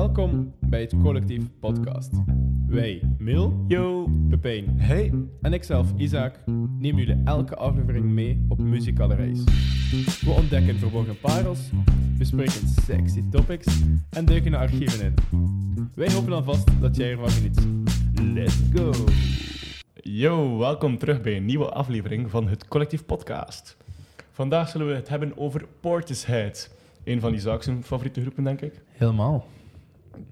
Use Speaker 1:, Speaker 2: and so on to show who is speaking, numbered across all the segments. Speaker 1: Welkom bij het Collectief Podcast. Wij, Mil, Yo, Pepijn
Speaker 2: Hey,
Speaker 1: en ikzelf, Isaac, nemen jullie elke aflevering mee op muzikale reis. We ontdekken verborgen parels, bespreken sexy topics en duiken de archieven in. Wij hopen alvast dat jij ervan geniet. Let's go!
Speaker 2: yo, welkom terug bij een nieuwe aflevering van het Collectief Podcast. Vandaag zullen we het hebben over Portishead. Een van Isaac's favoriete groepen, denk ik.
Speaker 3: Helemaal.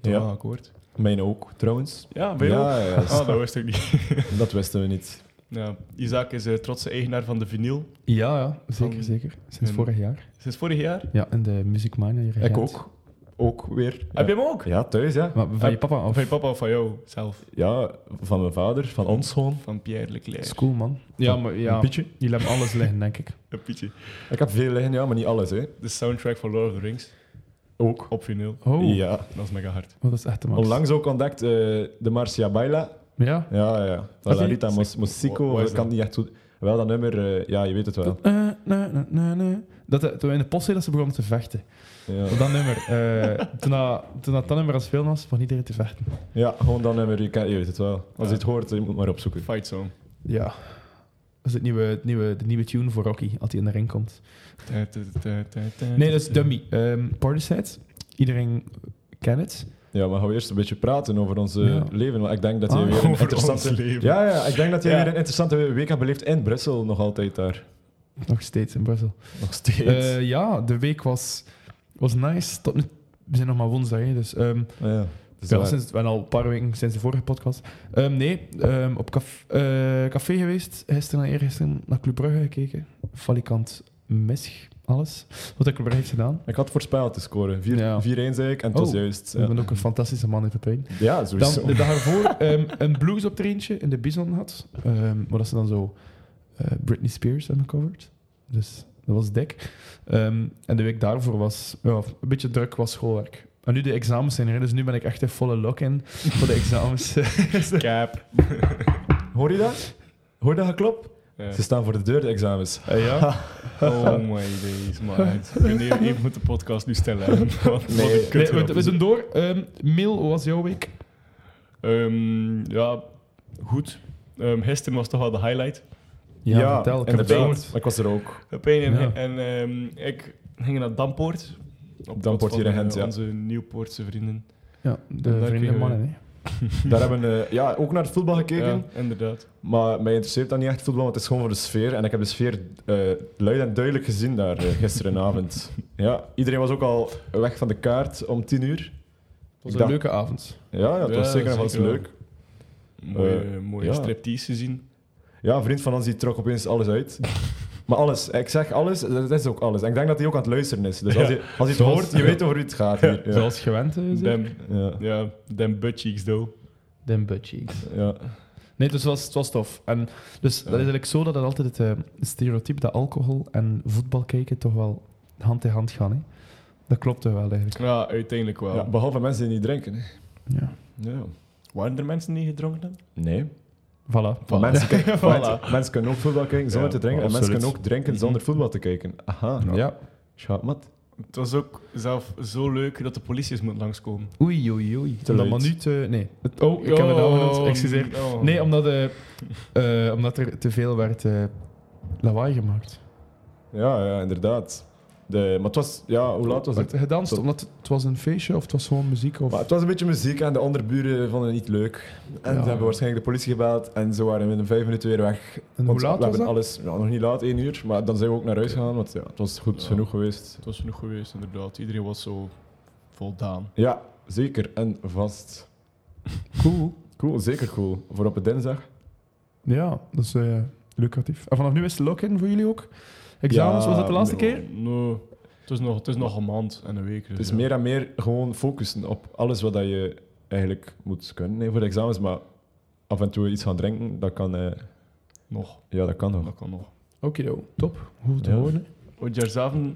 Speaker 2: Ja,
Speaker 4: Ja.
Speaker 2: akkoord.
Speaker 4: Mijn ook, trouwens.
Speaker 2: Ja, bij jou?
Speaker 4: ja, ja,
Speaker 2: Ah, dat wist ik niet.
Speaker 4: dat wisten we niet.
Speaker 2: Ja, Isaac is de trotse eigenaar van de vinyl.
Speaker 3: Ja, ja, zeker,
Speaker 2: Van-
Speaker 3: zeker. Sinds
Speaker 2: en-
Speaker 3: vorig jaar.
Speaker 2: Sinds vorig jaar.
Speaker 3: Ja, in de Music Minor. regent.
Speaker 4: Ik ook. Ook weer. Ja.
Speaker 2: Heb je hem ook?
Speaker 4: Ja, thuis, ja.
Speaker 3: Maar van je papa
Speaker 2: Of
Speaker 3: of
Speaker 2: van je papa of van jou zelf?
Speaker 4: Ja, van mijn vader, van ons gewoon.
Speaker 2: Van Pierre Leclerc.
Speaker 3: school, man. Ja, maar ja,
Speaker 4: Een pietje.
Speaker 3: jullie hebben alles liggen, denk ik.
Speaker 2: Een pietje.
Speaker 4: Ik heb veel liggen, ja, maar niet alles, hè.
Speaker 2: De soundtrack van Lord of the Rings.
Speaker 4: Ook.
Speaker 2: Op vinyl.
Speaker 3: Oh,
Speaker 4: Ja.
Speaker 2: Dat is mega hard.
Speaker 3: oh, dat is echt de max.
Speaker 4: Onlangs ook ontdekt eh, de Marcia Baila.
Speaker 3: Ja.
Speaker 4: Ja, ja, ja.
Speaker 3: Heb
Speaker 4: Van
Speaker 3: je-
Speaker 4: Larita Mos
Speaker 2: Wa-
Speaker 4: Mosico.
Speaker 2: wat is
Speaker 4: Ik kan
Speaker 2: dat?
Speaker 4: niet echt goed... Wel, dat nummer... eh, ja, je weet het wel.
Speaker 3: Dat, eh, nee, nee, nee, nee. Dat, eh, toen we in de post zitten, dat ze begonnen te vechten.
Speaker 4: Ja,
Speaker 3: Op dat nummer. eh, toen, dat, toen dat dat nummer als veel was, van iedereen te vechten.
Speaker 4: ja gewoon dat nummer. Je, kan- je weet het wel. Als je het hoort, je moet maar opzoeken.
Speaker 2: Fight song.
Speaker 3: Ja. Dat is het nieuwe, het nieuwe, de nieuwe tune voor Rocky, als hij in de ring komt. Nee, dat is Dummy. Ehm Partysides. Iedereen kent het.
Speaker 4: Ja, maar gaan we eerst een beetje praten over ons eh,
Speaker 3: Ja.
Speaker 4: leven. Want ik denk dat je
Speaker 3: Ah,
Speaker 4: weer een
Speaker 2: over
Speaker 4: interessante...
Speaker 2: ons leven.
Speaker 4: Ja, ja, ik denk dat jij
Speaker 2: Ja.
Speaker 4: weer een interessante week hebt beleefd in Brussel. Nog altijd daar.
Speaker 3: Nog steeds in Brussel.
Speaker 4: Nog steeds.
Speaker 3: Eh, ja, de week was, was nice. Tot nu, we zijn nog maar woensdag, hè, dus... ehm
Speaker 4: Oh ja, dat is
Speaker 3: ja,
Speaker 4: waar.
Speaker 3: sinds, we zijn al een paar weken sinds de vorige podcast. Ehm, nee, ehm, op caf- eh, café geweest. Gisteren en eergisteren naar Club Brugge gekeken. Falikant Misch, alles. Wat dat Club Brugge heeft gedaan.
Speaker 4: Ik had voorspeld te scoren. 4-1
Speaker 3: Ja.
Speaker 4: zei ik en het was
Speaker 3: Oh.
Speaker 4: juist.
Speaker 3: Ik
Speaker 4: Ja,
Speaker 3: ben ook een fantastische man in Pepijn.
Speaker 4: ja
Speaker 3: Dan
Speaker 4: sowieso.
Speaker 3: de dag ervoor ehm, een bluesoptreentje in de Bison had. ehm waar dat ze dan zo eh, Britney Spears hebben gecoverd. Dus dat was dik. Ehm, en de week daarvoor was ja, een beetje druk, was schoolwerk. En nu de examens zijn erin, dus nu ben ik echt in volle lock-in voor de examens.
Speaker 2: Cap.
Speaker 4: Hoor je dat? Hoor je dat geklopt?
Speaker 2: Ja.
Speaker 4: Ze staan voor de deur, de examens.
Speaker 3: Eh, ja.
Speaker 2: Oh my days, man. Meneer, ik moet de podcast nu stellen. Want wat een
Speaker 4: Nee.
Speaker 2: kut
Speaker 3: Nee, we, we
Speaker 2: grap.
Speaker 3: zijn door. Ehm Mil, hoe was jouw week?
Speaker 2: Ehm, ja, goed. Ehm, gisteren was toch wel de highlight.
Speaker 3: vertel. Ik heb het
Speaker 4: inderdaad.
Speaker 3: gehoord.
Speaker 4: Ik was er ook.
Speaker 2: Pepijn en,
Speaker 3: Ja.
Speaker 2: en ehm, ik gingen naar Dampoort. Op
Speaker 4: Dampoort hier in Gent, ja.
Speaker 2: Onze Nieuwpoortse vrienden.
Speaker 3: Ja, de
Speaker 2: Daar
Speaker 3: vrienden
Speaker 2: kregen we-
Speaker 3: mannen, hè.
Speaker 4: Daar hebben we ja, ook naar het voetbal gekeken.
Speaker 2: Ja, inderdaad.
Speaker 4: Maar mij interesseert dat niet echt voetbal, want het is gewoon voor de sfeer. En ik heb de sfeer eh, luid en duidelijk gezien daar eh, gisterenavond. ja, iedereen was ook al weg van de kaart om 10 uur.
Speaker 3: Het was
Speaker 4: Ik
Speaker 3: een
Speaker 4: dacht-
Speaker 3: leuke avond.
Speaker 4: Ja, dat
Speaker 2: Ja,
Speaker 4: was zeker nog wel eens
Speaker 2: zeker wel.
Speaker 4: leuk.
Speaker 2: Mooie,
Speaker 4: Eh,
Speaker 2: mooie
Speaker 4: ja.
Speaker 2: striptease gezien.
Speaker 4: Ja, een vriend van ons die trok opeens alles uit. Maar alles, ik zeg alles, dat is ook alles. En ik denk dat hij ook aan het luisteren is. Dus als hij, als hij het
Speaker 3: Zoals-
Speaker 4: hoort, je weet over wie het gaat hier. Ja.
Speaker 3: Zoals gewend, eh, is.
Speaker 2: Dem,
Speaker 4: Ja.
Speaker 2: ja, dem butt cheeks, though.
Speaker 3: Den Butchies.
Speaker 4: Ja.
Speaker 3: Nee, dus het was, het was tof. En dus dat is eigenlijk zo dat het altijd het eh, stereotype dat alcohol en voetbal kijken toch wel hand in hand gaan. Hè? Dat klopt toch wel eigenlijk.
Speaker 2: Ja, uiteindelijk wel.
Speaker 4: Ja, behalve mensen die niet drinken. hè.
Speaker 3: Ja.
Speaker 4: Ja.
Speaker 2: Waren er mensen die gedronken hebben?
Speaker 4: Nee.
Speaker 3: Voilà.
Speaker 4: Maar mensen, kijken-
Speaker 2: Voilà.
Speaker 4: mensen- mensen kunnen ook voetbal kijken zonder
Speaker 2: Ja,
Speaker 4: te drinken. En mensen
Speaker 3: absoluut. Mhm.
Speaker 4: kunnen ook drinken zonder voetbal te kijken. Aha.
Speaker 3: Ja.
Speaker 4: Schat, mat.
Speaker 2: Het was ook zelf zo leuk dat de politie eens moet langskomen.
Speaker 3: Oei, oei, oei.
Speaker 4: Te
Speaker 3: Omdat
Speaker 4: luid.
Speaker 3: Manute... Nee. Het- oh, ik heb het al genoemd. Excuseer.
Speaker 2: oh.
Speaker 3: Nee, omdat, eh, eh, omdat er te veel werd eh, lawaai gemaakt.
Speaker 4: Ja, ja, inderdaad. De, maar het was, ja, hoe laat was het?
Speaker 3: Werd Gedanst, omdat het, het was een feestje of het was gewoon muziek of...
Speaker 4: Maar het was een beetje muziek en de onderburen vonden het niet leuk. En
Speaker 3: Ja.
Speaker 4: ze hebben waarschijnlijk de politie gebeld en zo waren we in vijf minuten weer weg.
Speaker 3: En hoe
Speaker 4: Want
Speaker 3: laat
Speaker 4: we
Speaker 3: was
Speaker 4: hebben
Speaker 3: dat?
Speaker 4: alles, ja, nog niet laat, één uur, maar dan zijn we ook naar huis gegaan, want ja, het was goed
Speaker 2: Ja.
Speaker 4: genoeg geweest.
Speaker 2: Het was genoeg geweest, inderdaad. Iedereen was zo voldaan.
Speaker 4: Ja, zeker en vast.
Speaker 3: Cool.
Speaker 4: Cool, zeker cool. Voor op een dinsdag.
Speaker 3: Ja, dat is eh, lucratief. En vanaf nu is het lock-in voor jullie ook? Examens,
Speaker 4: Ja,
Speaker 3: was dat de laatste
Speaker 4: nee.
Speaker 3: keer?
Speaker 2: Nee, het is nog, het is nog een maand en een week. Dus
Speaker 4: Het is
Speaker 2: ja.
Speaker 4: meer en meer gewoon focussen op alles wat dat je eigenlijk moet kunnen hè, voor de examens, maar af en toe iets gaan drinken, dat kan, eh,
Speaker 2: Nog,
Speaker 4: ja, dat kan nog.
Speaker 2: dat kan nog.
Speaker 3: Oké, top. Goed te
Speaker 4: Ja.
Speaker 3: horen.
Speaker 2: Want jaarsavond,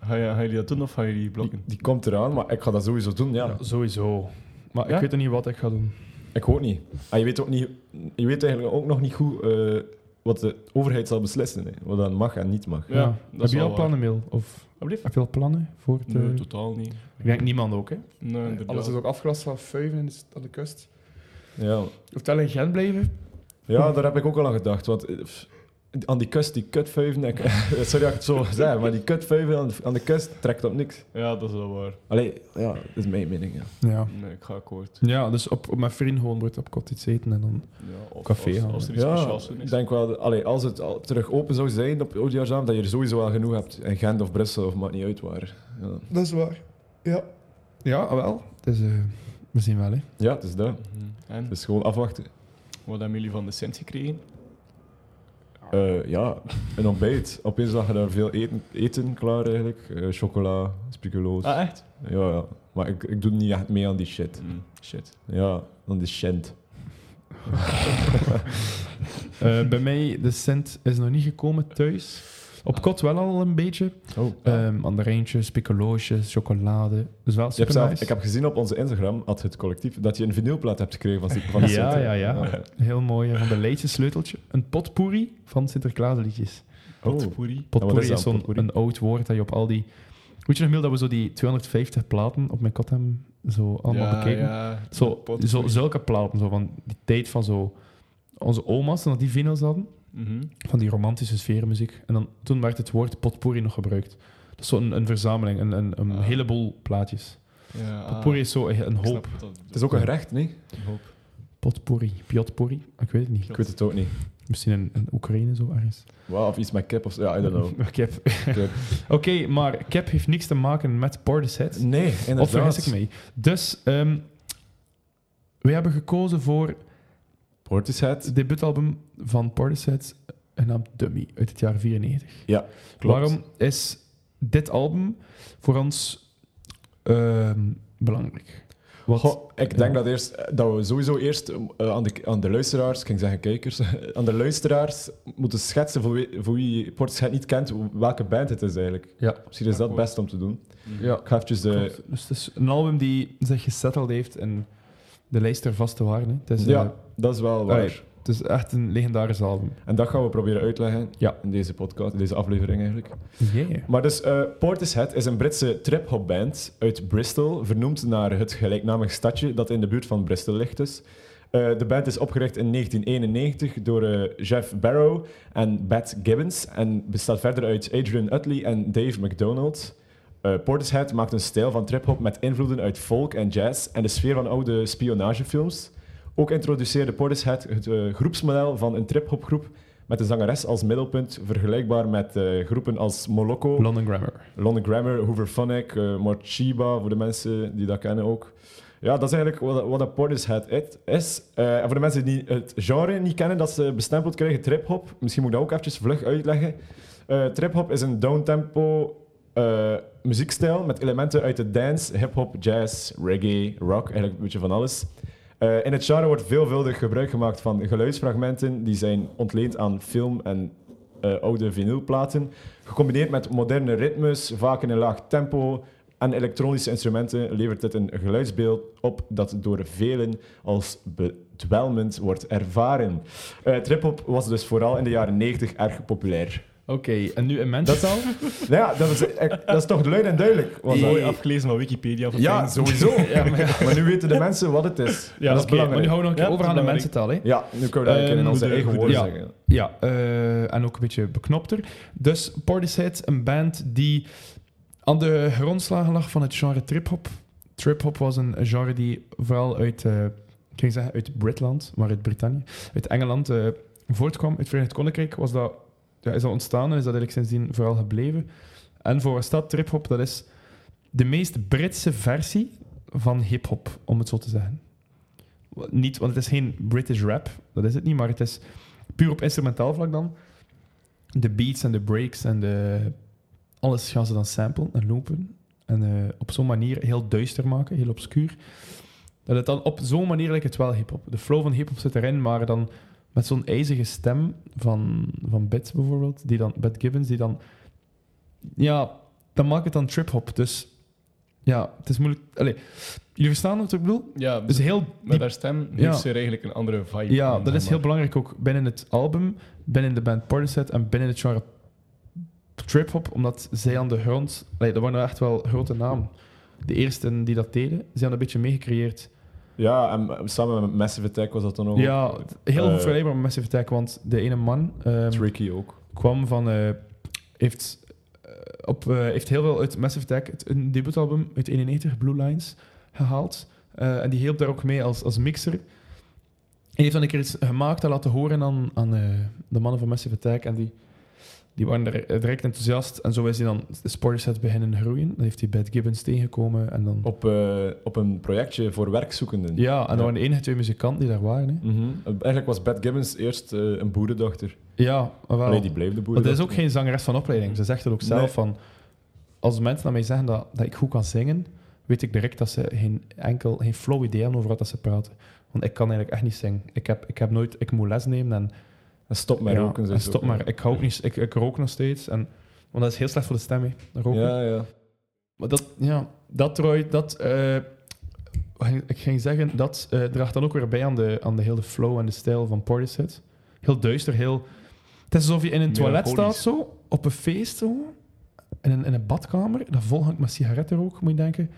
Speaker 2: ga je, ga je dat doen of ga je die
Speaker 4: Die,
Speaker 2: blokken?
Speaker 4: die komt eraan, maar ik ga dat sowieso doen, ja.
Speaker 3: sowieso. Maar
Speaker 4: Ja?
Speaker 3: ik weet nog niet wat ik ga doen.
Speaker 4: Ik ook niet. En je weet, ook niet, je weet eigenlijk ook nog niet goed eh, wat de overheid zal beslissen. Hè. Wat dan mag en niet mag.
Speaker 2: Ja, dat is
Speaker 3: Heb je
Speaker 2: wel
Speaker 3: al
Speaker 2: waar.
Speaker 3: plannen, Mil? Of
Speaker 2: Alsjeblieft.
Speaker 3: heb je al plannen voor het...
Speaker 2: Nee,
Speaker 3: eh,
Speaker 2: totaal niet.
Speaker 3: ik denk niemand ook, hè?
Speaker 2: Nee, inderdaad.
Speaker 1: Alles is ook afgelast van vuiven in de st- aan de kust.
Speaker 4: Ja.
Speaker 1: Je hoeft alleen in Gent blijven.
Speaker 4: ja, daar heb ik ook al aan gedacht. Want eh, pff, aan die kust, die kutvuiven... Ik, sorry dat ik het zo zeg, maar die kutvuiven aan de, aan de kust trekt op niks.
Speaker 2: Ja, dat is wel waar.
Speaker 4: Allee, ja, dat is mijn mening. Ja.
Speaker 3: Ja.
Speaker 2: Nee, ik ga akkoord.
Speaker 3: Ja, dus op, op mijn vriend gewoon wordt op kot iets eten en dan...
Speaker 2: Ja, of
Speaker 3: Café
Speaker 2: als,
Speaker 3: gaan
Speaker 2: als er iets
Speaker 4: Ja,
Speaker 2: speciaals in
Speaker 4: ik
Speaker 2: is.
Speaker 4: denk wel, allee, als het al terug open zou zijn op Oudjaarsavond, dat je er sowieso wel genoeg hebt. In Gent of Brussel, of maakt niet uit waar. Ja,
Speaker 1: Dat is waar. Ja.
Speaker 3: Ja, wel. Dus eh, we zien wel, hè.
Speaker 4: ja het is dat.
Speaker 2: Mhm. En,
Speaker 4: Het is gewoon afwachten.
Speaker 2: wat hebben jullie van de Sint gekregen?
Speaker 4: Eh, ja, een ontbijt. Opeens lag er daar veel eten, eten klaar eigenlijk. Eh, chocola, speculoos.
Speaker 2: Ah, echt?
Speaker 4: Ja, ja. Maar ik, ik doe niet echt mee aan die shit.
Speaker 2: Mm, shit.
Speaker 4: Ja, aan die shit.
Speaker 3: Eh, bij mij, de cent is nog niet gekomen thuis.
Speaker 4: Ah.
Speaker 3: Op kot wel al een beetje.
Speaker 4: Oh.
Speaker 3: Ehm mandarijntjes, piccoloosjes, chocolade. Dus wel
Speaker 4: Je hebt
Speaker 3: super
Speaker 4: zelf-
Speaker 3: nice.
Speaker 4: ik heb gezien op onze Instagram, had het collectief, dat je een vinylplaat hebt gekregen van, van de
Speaker 3: Ja,
Speaker 4: Sint, hè?
Speaker 3: ja, ja. Heel mooi, eh, van de Leidse sleuteltje. Een potpourri van Sinterklaasliedjes.
Speaker 4: Oh.
Speaker 2: Potpourri.
Speaker 3: Potpourri
Speaker 4: is
Speaker 3: is,
Speaker 4: dat,
Speaker 3: zo'n
Speaker 4: potpourri?
Speaker 3: een oud woord dat je op al die... Weet je nog, Miel, dat we zo die 250 platen op mijn kot hebben zo allemaal
Speaker 2: ja,
Speaker 3: bekeken?
Speaker 2: ja.
Speaker 3: Zo,
Speaker 2: Potpourri.
Speaker 3: zo, zulke platen, zo van die tijd van zo... Onze oma's, toen dat die vinyls hadden,
Speaker 2: Mhm.
Speaker 3: van die romantische sfeermuziek. En dan, toen werd het woord potpourri nog gebruikt. Dat is zo'n een verzameling, een, een, een
Speaker 2: Ah.
Speaker 3: heleboel plaatjes.
Speaker 2: Ja, ah,
Speaker 3: Potpourri is zo eh, een
Speaker 2: ik snap
Speaker 3: hoop.
Speaker 2: wat dat
Speaker 4: Het is ook een gerecht, nee?
Speaker 3: Potpourri, piotpourri, ik weet het niet.
Speaker 4: Ik weet het ook niet.
Speaker 3: Misschien een, een Oekraïne zo ergens.
Speaker 4: Wow, of iets met kip of zo. Ja, I don't know.
Speaker 3: Cap. Oké,
Speaker 4: Cap.
Speaker 3: maar cap heeft niks te maken met Portishead.
Speaker 4: Nee, inderdaad.
Speaker 3: Of vergis ik mee. Dus ehm, we hebben gekozen voor
Speaker 4: Portishead.
Speaker 3: het debuutalbum van Portishead, genaamd Dummy, uit het jaar 94.
Speaker 4: Klopt.
Speaker 3: Waarom is dit album voor ons ehm, belangrijk? Wat,
Speaker 4: Goh, ik denk
Speaker 3: ja.
Speaker 4: dat, eerst, eh, dat we sowieso eerst eh, aan, de, aan de luisteraars, ik ging zeggen kijkers, aan de luisteraars moeten schetsen voor wie, voor wie Portishead niet kent, welke band het is eigenlijk.
Speaker 3: Ja.
Speaker 4: Misschien is dat
Speaker 2: Akkoord.
Speaker 4: best om te doen.
Speaker 2: Mhm.
Speaker 3: ja,
Speaker 4: Ik ga eventjes de...
Speaker 3: klopt. Dus het is een album die zich gesetteld heeft en de lijst er vast te waren. hè. Het is, eh,
Speaker 4: Ja, dat is wel waar.
Speaker 3: Allee. het is echt een legendarisch album.
Speaker 4: En dat gaan we proberen uitleggen
Speaker 3: Ja.
Speaker 4: in deze podcast, in deze aflevering eigenlijk.
Speaker 3: Yeah.
Speaker 4: Maar dus, eh, Portishead is een Britse trip-hop band uit Bristol, vernoemd naar het gelijknamig stadje dat in de buurt van Bristol ligt dus. Eh, de band is opgericht in 1991 door eh, Jeff Barrow en Bat Gibbons en bestaat verder uit Adrian Utley en Dave McDonald. Eh, Portishead maakt een stijl van trip-hop met invloeden uit folk en jazz en de sfeer van oude spionagefilms. Ook introduceerde Portishead het eh, groepsmodel van een trip-hopgroep met de zangeres als middelpunt, vergelijkbaar met eh, groepen als Moloko,
Speaker 3: London Grammar.
Speaker 4: London Grammar, Hooverphonic, eh Morchiba, voor de mensen die dat kennen ook. Ja, dat is eigenlijk wat, wat dat Portishead it- is. Eh, en voor de mensen die het genre niet kennen, dat ze bestempeld krijgen trip-hop. Misschien moet ik dat ook eventjes vlug uitleggen. Eh trip-hop is een downtempo eh, muziekstijl met elementen uit de dance, hip-hop, jazz, reggae, rock, eigenlijk een beetje van alles. Eh, in het genre wordt veelvuldig gebruik gemaakt van geluidsfragmenten die zijn ontleend aan film en eh, oude vinylplaten, gecombineerd met moderne ritmes, vaak in een laag tempo en elektronische instrumenten levert dit een geluidsbeeld op dat door velen als bedwelmend wordt ervaren. Eh Trip-hop was dus vooral in de jaren 90 erg populair.
Speaker 3: Oké, en nu in Manchester?
Speaker 4: Nou ja, dat is, eh, dat is toch luid en duidelijk. was dat.
Speaker 2: Mooi afgelezen van Wikipedia. Van
Speaker 4: Ja,
Speaker 2: Tijn.
Speaker 4: sowieso. maar... nu weten de mensen wat het is.
Speaker 2: Ja,
Speaker 4: dat is
Speaker 2: oké,
Speaker 3: Maar
Speaker 4: belangrijk.
Speaker 3: nu houden we nog een keer
Speaker 2: Ja,
Speaker 3: over aan de
Speaker 2: belangrijk.
Speaker 3: mensentaal, hè?
Speaker 4: Ja, nu kunnen we dat eigenlijk in
Speaker 2: Ehm,
Speaker 4: onze
Speaker 2: goede-
Speaker 4: eigen
Speaker 2: goede-
Speaker 4: woorden
Speaker 3: ja. Ja,
Speaker 4: zeggen.
Speaker 3: eh, en ook een beetje beknopter. Dus Portishead, een band die aan de grondslagen lag van het genre trip-hop. Trip-hop was een genre die vooral uit, eh, ik ging zeggen uit Britland, maar uit Brittannië, uit Engeland eh, voortkwam. Het Verenigd Koninkrijk was dat, ja, is dat ontstaan en is dat eigenlijk sindsdien vooral gebleven. En voor wat staat trip-hop? Dat is de meest Britse versie van hip-hop, om het zo te zeggen. Wa- Niet, want het is geen British rap, dat is het niet, maar het is puur op instrumentaal vlak dan. De beats en de breaks en de... Alles gaan ze dan samplen en lopen. En eh, op zo'n manier heel duister maken, heel obscuur. Dat het dan op zo'n manier lijkt het wel hip-hop. De flow van hip-hop zit erin, maar dan met zo'n ijzige stem van, van Bits bijvoorbeeld, die dan, Bad Gibbons, die dan. Ja, dan maakt het dan trip-hop. Dus Ja, het is moeilijk. Allee, jullie verstaan wat ik bedoel?
Speaker 2: Ja,
Speaker 3: Dus heel
Speaker 2: met
Speaker 3: diep-
Speaker 2: haar stem heeft
Speaker 3: Ja.
Speaker 2: ze er eigenlijk een andere vibe.
Speaker 3: Ja,
Speaker 2: aan,
Speaker 3: dat is
Speaker 2: zeg
Speaker 3: heel
Speaker 2: maar.
Speaker 3: belangrijk ook binnen het album, binnen de band Portishead en binnen het genre trip-hop, omdat zij aan de grond, allee, dat waren echt wel grote namen. De eerste die dat deden, zij hadden een beetje meegecreëerd.
Speaker 4: Ja, en eh, samen met Massive Attack was dat dan ook.
Speaker 3: Ja, heel
Speaker 4: Oh. Eh.
Speaker 3: onvergelijkbaar met Massive Attack, want de ene man ehm,
Speaker 4: Tricky ook.
Speaker 3: kwam van, eh, heeft, eh, op, eh, heeft heel veel uit Massive Attack, het, een debuutalbum uit 91, Blue Lines, gehaald. Eh, en die hielp daar ook mee als, als mixer. En die heeft dan een keer iets gemaakt en laten horen aan, aan eh, de mannen van Massive Attack. En die, die waren er eh, direct enthousiast. En zo is hij dan Sportset beginnen groeien. Dan heeft hij Bad Gibbons tegengekomen. En dan,
Speaker 4: Op, eh, op een projectje voor werkzoekenden.
Speaker 3: ja, en dat
Speaker 4: Ja.
Speaker 3: waren de enige twee muzikanten die daar waren. Hè.
Speaker 4: Mhm. Eigenlijk was Bad Gibbons eerst eh, een boerendochter.
Speaker 3: Ja, wel.
Speaker 4: Nee, die
Speaker 3: Maar
Speaker 4: bleef de
Speaker 3: dat is
Speaker 4: boerendochter.
Speaker 3: ook geen zangeres van opleiding. Ze zegt het ook zelf
Speaker 4: Nee.
Speaker 3: van... Als mensen naar mij zeggen dat, dat ik goed kan zingen, weet ik direct dat ze geen enkel, geen flow idee hebben over wat dat ze praten. Want ik kan eigenlijk echt niet zingen. Ik heb, ik heb nooit... Ik moet les nemen en...
Speaker 4: En stop met
Speaker 3: ja,
Speaker 4: roken. zei
Speaker 3: en
Speaker 4: ze
Speaker 3: stop
Speaker 4: ook.
Speaker 3: maar. Ik, hou ook niet, ik, ik rook nog steeds. En, want dat is heel slecht voor de stem, hè. Roken.
Speaker 4: Ja, ja.
Speaker 3: Maar dat... Ja, dat Roy, dat... eh, ik ging zeggen, dat eh, draagt dan ook weer bij aan de, aan de hele flow en de stijl van Portishead. Heel duister, heel... Het is alsof je in een toilet staat
Speaker 2: Melancholisch.
Speaker 3: zo, op een feest zo, in een, in een badkamer, dat vol hangt met sigarettenrook, moet je denken.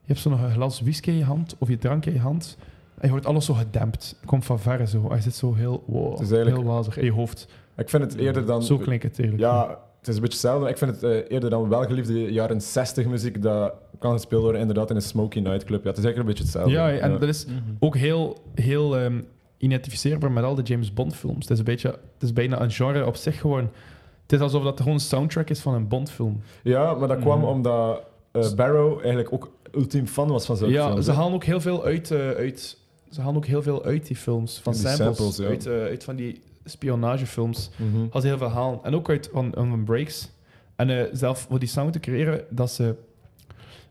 Speaker 3: Je hebt zo nog een glas whisky in je hand, of je drank in je hand, en je hoort alles zo gedempt. Het komt van verre zo, hij zit zo heel, wow,
Speaker 4: Het is eigenlijk-
Speaker 3: heel wazig in je hoofd.
Speaker 4: Ik vind het eerder dan...
Speaker 3: Zo klinkt het eigenlijk.
Speaker 4: Ja, het is een beetje hetzelfde. maar Ik vind het eh, eerder dan welgeliefde jaren 60 muziek dat kan gespeeld worden inderdaad in een smoky nightclub. Ja, het is eigenlijk een beetje hetzelfde.
Speaker 3: ja en dat is
Speaker 2: Mhm.
Speaker 3: ook heel, heel ehm, identificeerbaar met al de James Bond films. Het is, een beetje, het is bijna een genre op zich gewoon. Het is alsof dat gewoon een soundtrack is van een Bond film.
Speaker 4: Ja, maar dat kwam
Speaker 2: Mhm.
Speaker 4: omdat eh, Barrow eigenlijk ook ultiem fan was van zo'n
Speaker 3: Ja, ze halen ook heel veel uit, eh, uit, ze halen ook heel veel uit die films. Van
Speaker 4: Die
Speaker 3: samples,
Speaker 4: samples, ja.
Speaker 3: uit, eh, uit van die spionagefilms.
Speaker 4: Mhm.
Speaker 3: Had ze heel veel halen. En ook uit van, van breaks. En eh, zelf voor die sound te creëren, dat ze,